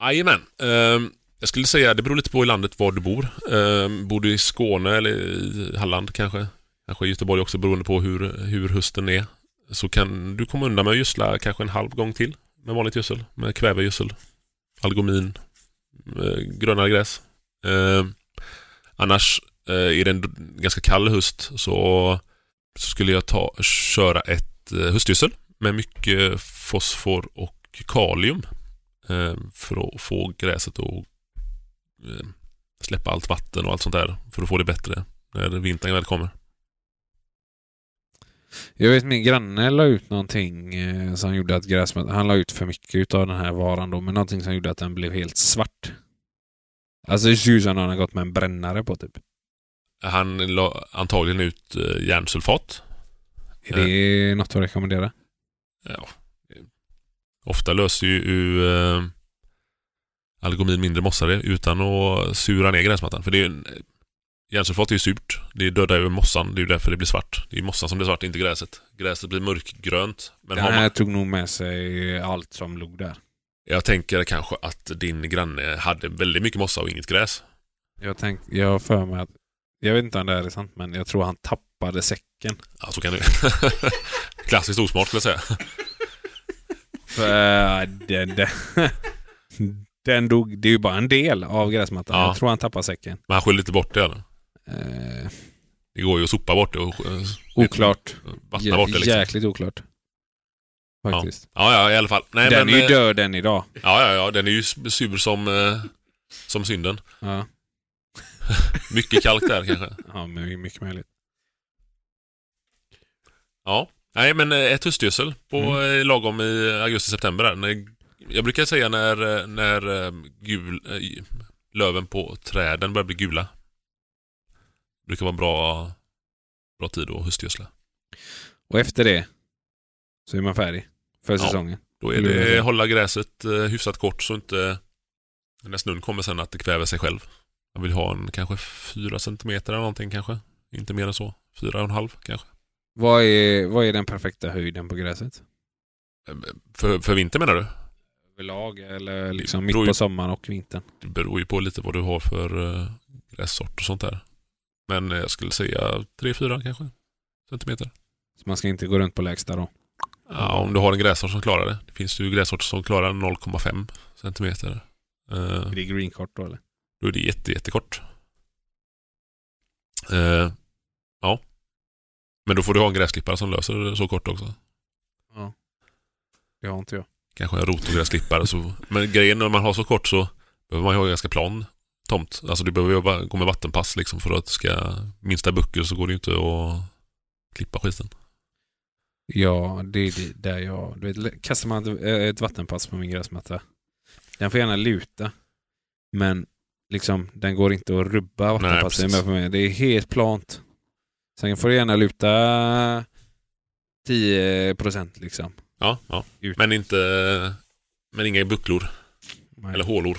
jajamän. Ehm, jag skulle säga, det beror lite på i landet var du bor. Ehm, bor du i Skåne eller i Halland kanske? Kanske i Göteborg också beroende på hur, hur hösten är. Så kan du komma undan med att gödsla kanske en halv gång till med vanligt gödsel. Med kvävegödsel, algomin, eh, grönare gräs. Ehm, annars eh, är det en d- ganska kall höst så, så skulle jag ta, köra ett eh, höstgödsel med mycket fosfor och kalium eh, för att få gräset att eh, släppa allt vatten och allt sånt där för att få det bättre när vintern väl kommer. Jag vet min granne la ut någonting eh, som gjorde att gräsmattan... Han la ut för mycket av den här varan då, men någonting som gjorde att den blev helt svart. Alltså det ser ut som någon har gått med en brännare på typ. Han la antagligen ut eh, järnsulfat. Är Eh. det något att rekommendera? Ja. Ofta löser ju ju, eh, algomin mindre mossare utan att sura ner gräsmattan. För det är ju en, järnsulfat är ju surt. Det dödar ju mossan. Det är ju därför det blir svart. Det är ju mossan som blir svart, inte gräset. Gräset blir mörkgrönt. Men Den har man, här tog nog med sig allt som låg där. jag tänker kanske att din granne hade väldigt mycket mossa och inget gräs. Jag tänk, jag har för mig att, jag vet inte om det här är sant, men jag tror han tappade säcken. Ja, så kan det Klassiskt osmart skulle jag säga. För eh, den, den, den dog, det är ju bara en del av gräsmattan. Ja. Jag tror han tappade säcken. Men han skyller lite bort det. Eller? Eh, Det går ju att sopa bort det och eh, oklart. vattna bort det liksom. Jäkligt oklart. Faktiskt. Ja, ja, i alla fall. Nej, den men, är ju eh, död än idag. Ja, ja, ja. Den är ju s- sur som, eh, som synden. Ja, Mycket kalk där kanske. ja men mycket möjligt. Ja. Nej, men eh, ett höstgödsel på Mm. eh, lagom i augusti-september. där. När- Jag brukar säga när, eh, när eh, gul, eh, i- löven på träden börjar bli gula. Brukar vara en bra, bra tid att höstgödsla. Och efter det så är man färdig för Ja. säsongen. Då är Lurar det sig. hålla gräset eh, hyfsat kort så inte när snön kommer sen att det kväver sig själv. Jag vill ha en kanske fyra centimeter eller någonting kanske. Inte mer än så. Fyra och en halv kanske. Vad är, vad är den perfekta höjden på gräset? För, för vinter menar du? Överlag eller liksom Det mitt beror ju- på sommaren och vintern? Det beror ju på lite vad du har för eh, grässort och sånt där. Men eh, jag skulle säga tre fyra kanske centimeter. Så man ska inte gå runt på lägsta då. Ja, om du har en grässort som klarar det. Det finns ju grässorter som klarar 0,5 centimeter. Eh, Är det greenkort då eller? Då är det jätte, jättekort. Eh, ja. Men då får du ha en gräsklippare som löser det så kort också. Det har inte jag. Kanske en rotogräsklippare. så. Men grejen när man har så kort så behöver man ju ha ganska plan tomt. Alltså du behöver ju bara gå med vattenpass liksom för att det ska minsta buckel så går det ju inte att klippa skiten. Ja, det är det där jag... Du vet, kastar man ett, eh, ett vattenpass på min gräsmatta. Den får gärna luta. Men liksom, den går inte att rubba vattenpasset precis. med för mig. Det är helt plant. Sen får det gärna luta 10 procent liksom. Ja, ja. Ut. Men inte... Men inga bucklor Nej. eller hålor.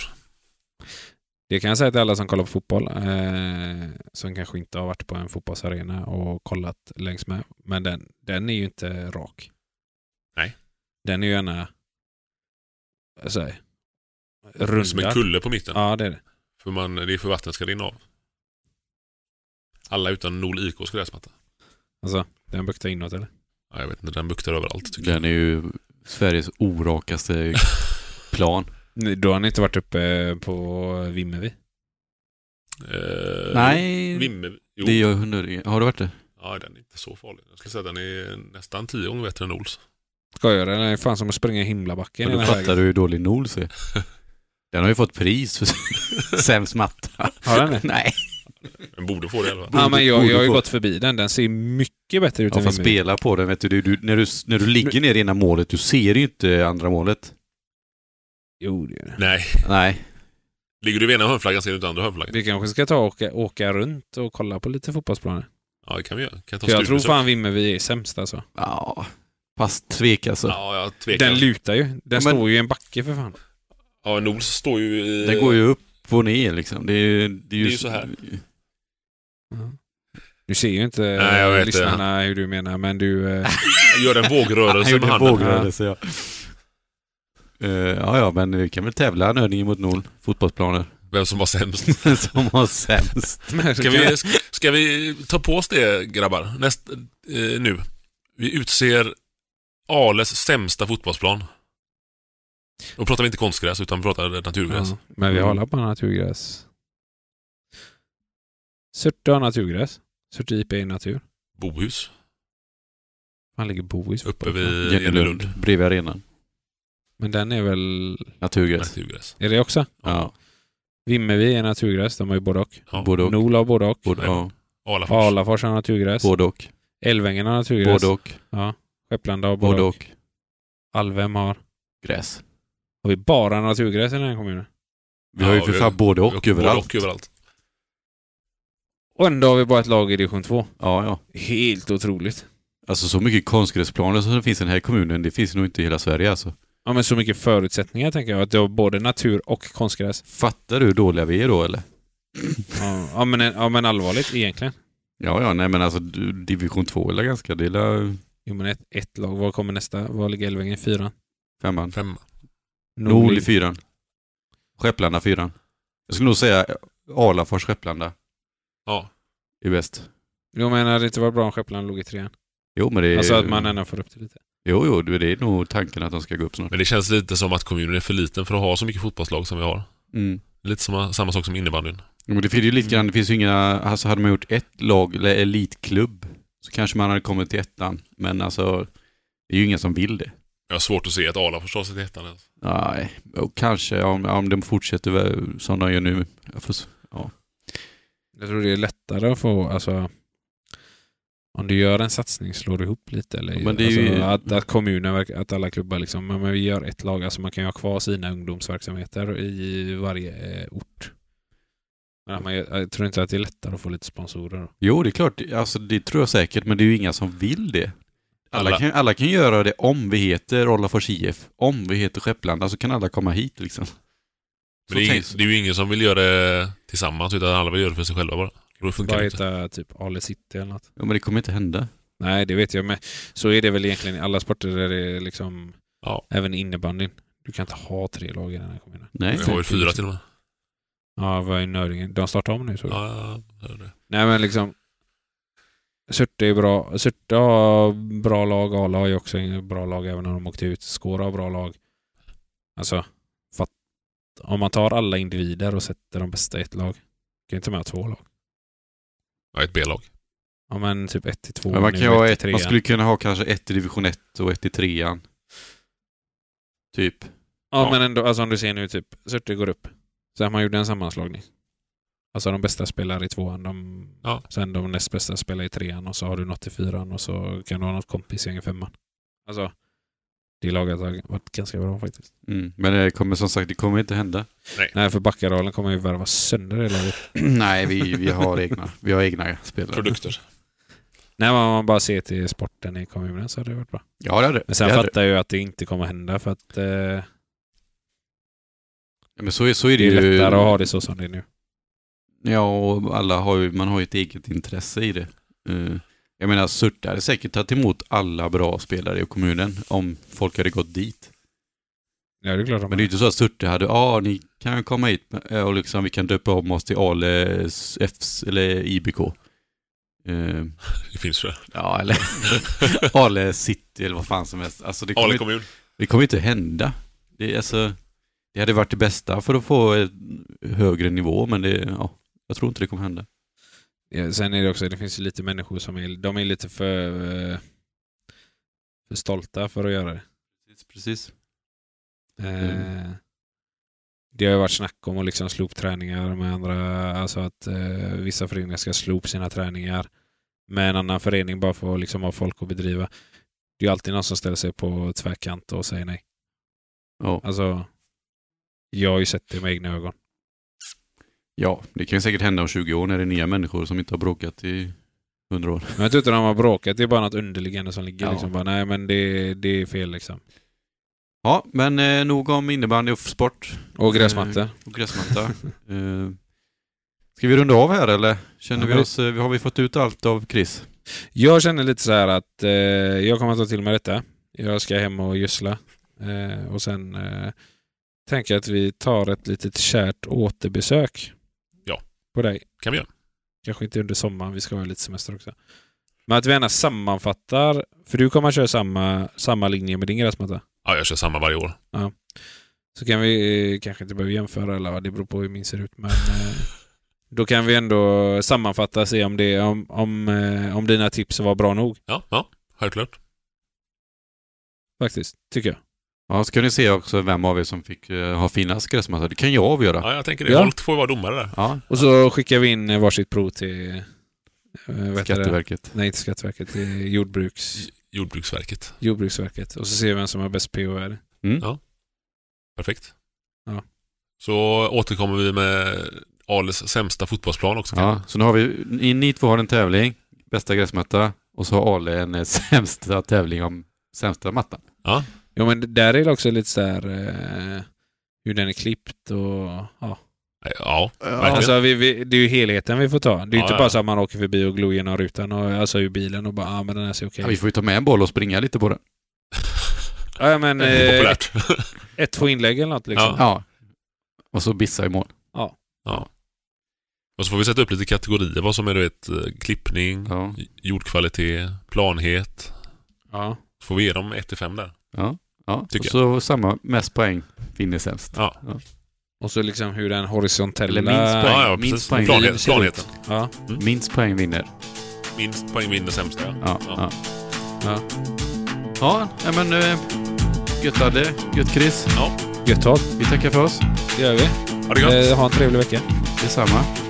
Det kan jag säga till alla som kollar på fotboll, eh, som kanske inte har varit på en fotbollsarena och kollat längs med. Men den, den är ju inte rak. Nej. Den är ju gärna vad säger jag, Som en rundad. kulle på mitten. Ja, det är det. För man, det är för vattnet ska rinna av. Alla utan Nol IKs gräsmatta. Alltså, den buktar inåt eller? Ja, jag vet inte, den buktar överallt tycker jag. Den är ju Sveriges orakaste plan. Nej, Då har ni inte varit uppe på Vimmerby? Eh, Nej, Vimmer, jo. det är jag hundra. Har du varit det? Ja, den är inte så farlig. Jag skulle säga att den är nästan tio gånger bättre än Ols. Skojar du? Den är fan som att springa i himlabacken. Men i då den här fattar vägen. du hur dålig Nol är. Den har ju fått pris för sämst matta. Har den det? Nej. Den borde få det i alla fall. Ja, men jag, borde jag har ju få- gått förbi den. Den ser mycket bättre ut Ja, än fast Vimmerby. spela på den. Vet du, du, du, när, du, när du ligger ner innan målet, du ser ju inte andra målet. Jo, det gör den. Nej, Nej. ligger du vid ena hörnflaggan ser du inte andra hörnflaggan. Vi kanske ska ta och åka, åka runt och kolla på lite fotbollsplaner. Ja, det kan vi göra. Kan ta För jag tror studiebesök. fan Vimmerby är sämst alltså. Ja. Fast tvek alltså. Ja, jag tvekar. Den Den lutar ju. Den men- står ju i en backe för fan. ja, en Ols står ju i... Den går ju upp och ner liksom. Det är, ju- det är, ju, Det är ju så här. Du ser ju inte Nej, jag eh, vet det. lyssnarna hur du menar, men du... eh, Gör en Han vågrörelse gjorde med en handen. vågrörelse, ja. Eh, ja, ja, men vi kan väl tävla en övning mot noll fotbollsplaner. Vem som var sämst. Som har sämst. men Ska vi, ska vi ta på oss det grabbar? Näst, eh, nu. Vi utser Ales sämsta fotbollsplan. Då pratar vi inte konstgräs utan vi pratar naturgräs. ja, men vi håller på naturgräs. Surte har naturgräs. Surte IP är natur. Bohus Fan ligger Bohus uppe fotbollsplan. vid Jennelund. Jennelund, bredvid arenan. Men den är väl... Naturgräs. Naturgräs. Är det också? Ja, Vimmerby är naturgräs. De har ju både och. Ja. både och. Nol har både och. Både, ja, Alafors. Alafors har naturgräs. både och. Älvängen har naturgräs. Både och. Ja. Skepplanda har Både både och. och. Alvhem har... Gräs. Har vi bara naturgräs i den här kommunen? Vi har ju Ja, för vi- fan både och överallt. Både och överallt. Och ändå har vi bara ett lag i division 2. Ja, ja. Helt otroligt. Alltså så mycket konstgräsplaner som det finns i den här kommunen, det finns nog inte i hela Sverige alltså. ja, men så mycket förutsättningar tänker jag. Att det var både natur och konstgräs. Fattar du hur dåliga vi är då eller? Ja, ja, men, ja men allvarligt egentligen. Ja, ja, nej men alltså du, division 2 eller ganska, det är la- Jo men ett, ett lag. Var kommer nästa? Var ligger Älvängen? Fyra? femman. Femma. Nol i fyran. Skepplanda fyran. Jag skulle nog säga Alafors Skepplanda Ja. är bäst. Jo men hade det inte varit bra om Skeppland låg i trean? Jo men det är... Alltså att man ändå får upp det lite. Jo, jo, det är nog tanken att de ska gå upp snart. Men det känns lite som att kommunen är för liten för att ha så mycket fotbollslag som vi har. Mm. Lite som, samma sak som innebandyn. Jo, Men det finns ju lite Mm. grann, det finns ju inga, alltså hade man gjort ett lag eller elitklubb så kanske man hade kommit till ettan. Men alltså, det är ju ingen som vill det. Jag har svårt att se att Arla förstår sig till ettan ens. Nej, och kanske om, om de fortsätter väl som de gör nu. Jag får, s- Jag tror det är lättare att få, alltså om du gör en satsning, slår du ihop lite? Eller, Ja, men det är ju- alltså, att, att kommunen, verkar- att alla klubbar liksom, men, men vi gör ett lag, alltså man kan ju ha kvar sina ungdomsverksamheter i varje eh, ort. Men att man, gör- jag tror inte att det är lättare att få lite sponsorer. då. jo, det är klart, alltså, det tror jag säkert, men det är ju inga som vill det. Alla, Alla. Kan, alla kan göra det om vi heter Rollafors IF, om vi heter Skepplanda, så kan alla komma hit liksom. Men det är, ing- tänks- det är ju ingen som vill göra det tillsammans utan alla vill göra det för sig själva bara. Då funkar Bara det inte. heta typ Ale City eller något. Ja, men det kommer inte hända. Nej, det vet jag, men så är det väl egentligen i alla sporter där det är liksom, Ja. även innebandyn. Du kan inte ha tre lag i den här kommunen. Nej. Vi har ju fyra till och med. Ja, vad är Nöringen? De startar om nu såg jag. Ja, ja, ja, det är det. Nej men liksom Surte är bra. Surte har bra lag. Arla har ju också en bra lag även om de åkte ut. Skåra har bra lag. Alltså, fatt, om man tar alla individer och sätter de bästa i ett lag. Kan ju inte med ha två lag. Ja, ett B-lag. Ja men typ ett till två. Men man, nu, kan ju ha till ett, man trean. skulle kunna ha kanske ett i division 1 och ett i trean. Typ. Ja, Ja. men ändå, alltså om du ser nu typ, Surte går upp. Sen man gjorde en sammanslagning. Alltså de bästa spelar i tvåan, de, Ja. sen de näst bästa spelar i trean och så har du något i fyran och så kan du ha något kompisgäng i femman. Alltså, det laget har varit ganska bra faktiskt. Mm. Men det kommer som sagt, det kommer inte hända. Nej, för Backadalen kommer ju värva sönder det laget. Nej, vi, vi har egna. Vi har egna spelare. Produkter. Nej, men om man bara ser till sporten i kommunen så hade det varit bra. Ja, det hade Men sen det. Hade. fattar jag ju att det inte kommer hända för att eh, det det. Men så, är- så är det, är ju. lättare att ha det så som det är nu. Ja, och alla har ju, man har ju ett eget intresse i det. Eh, Jag menar, Surte hade säkert tagit emot alla bra spelare i kommunen om folk hade gått dit. Ja, det är klart de Men det är ju inte så att Surte hade, ja, ah, ni kan komma hit eh, och liksom vi kan döpa om oss till Ale Fs eller IBK. Eh, Det finns det. Ja, eller Ale City eller vad fan som helst. Alltså, det, kommer, Ale inte- kommun. det kommer inte hända. Det, är alltså, det hade varit det bästa för att få ett högre nivå, men det, ja, jag tror inte det kommer hända. Ja, sen är det också, det finns ju lite människor som är, de är lite för, eh, för stolta för att göra det. Precis. Eh, Det har ju varit snack om att liksom slå upp träningar med andra, alltså att eh, vissa föreningar ska slå upp sina träningar med en annan förening bara för att liksom ha folk att bedriva. Det är ju alltid någon som ställer sig på tvärkant och säger nej. Ja. Alltså, jag har ju sett det med egna ögon. ja, det kan ju säkert hända om 20 år när det är nya människor som inte har bråkat i 100 år. Men jag tror inte de har bråkat, det är bara något underliggande som ligger Ja. liksom. Bara, nej men det, det är fel liksom. Ja, men eh, nog om innebandy och sport Och gräsmattor. och gräsmatta. eh, ska vi runda av här eller? Känner Ja, vi men- oss, eh, har vi fått ut allt av Chris? Jag känner lite så här att eh, jag kommer att ta till mig detta. Jag ska hem och gödsla. Eh, och sen eh, tänker jag att vi tar ett litet kärt återbesök. Ja. På dig. Kan vi göra. Kanske inte under sommaren, vi ska ha lite semester också. Men att vi gärna sammanfattar, för du kommer att köra samma, samma linje med din gräsmatta. Ja, jag kör samma varje år. Så kan vi, eh, kanske inte behöver jämföra, eller ja, det beror på hur min ser ut, men eh, då kan vi ändå sammanfatta och se om, det, om, om, eh, om dina tips var bra nog, Ja, ja. Självklart. faktiskt, tycker jag. Ja, ska ni se också vem av er som fick eh, ha finast gräsmatta. Det kan jag avgöra. Ja, jag tänker det. Ja. Holt får ju vara domare där. Ja, Och så skickar vi in eh, varsitt prov till eh, vad heter det? Skatteverket. Nej, inte Skatteverket. Till jordbruks, J- Jordbruksverket. Jordbruksverket. Och så ser vi vem som har bäst POR. Mm. Perfekt. Ja. Så återkommer vi med Ales sämsta fotbollsplan också. Ja, så nu har vi, ni, ni två har en tävling, bästa gräsmatta, och så har Ale en eh, sämsta tävling om sämsta mattan. Ja. Jo men där är det också lite så här eh, hur den är klippt och ja. Ja, verkligen. Alltså, vi, vi, det är ju helheten vi får ta. Det är ju Ja, inte ja. bara så att man åker förbi och glor genom rutan och alltså ur bilen och bara ah, men den här ser okej Ja, ut. vi får ju ta med en boll och springa lite på den. Ja, ja, men Det är eh, ett, populärt. ett, två inlägg eller något liksom. Ja. Ja. Och så bissa i mål. Och så får vi sätta upp lite kategorier. Vad som är du vet, eh, klippning, Ja. jordkvalitet, planhet. Ja. Så får vi ge dem 1-5 där. ja. Tycker Och så samma, mest poäng vinner sämst. Ja. Och så liksom hur den horisontella... Eller minst poäng. Ja, ja, minst precis. poäng. Planhet- Ser ut. planheten. Ja. Mm. Minst poäng vinner. Minst poäng vinner sämst. Ja. Ja. Ja. Ja. Ja, nej, men eh, gött Adde, gött Chris. Gött tal. Vi tackar för oss. Det gör vi. Ha det gott. Eh, ha en trevlig vecka. Detsamma.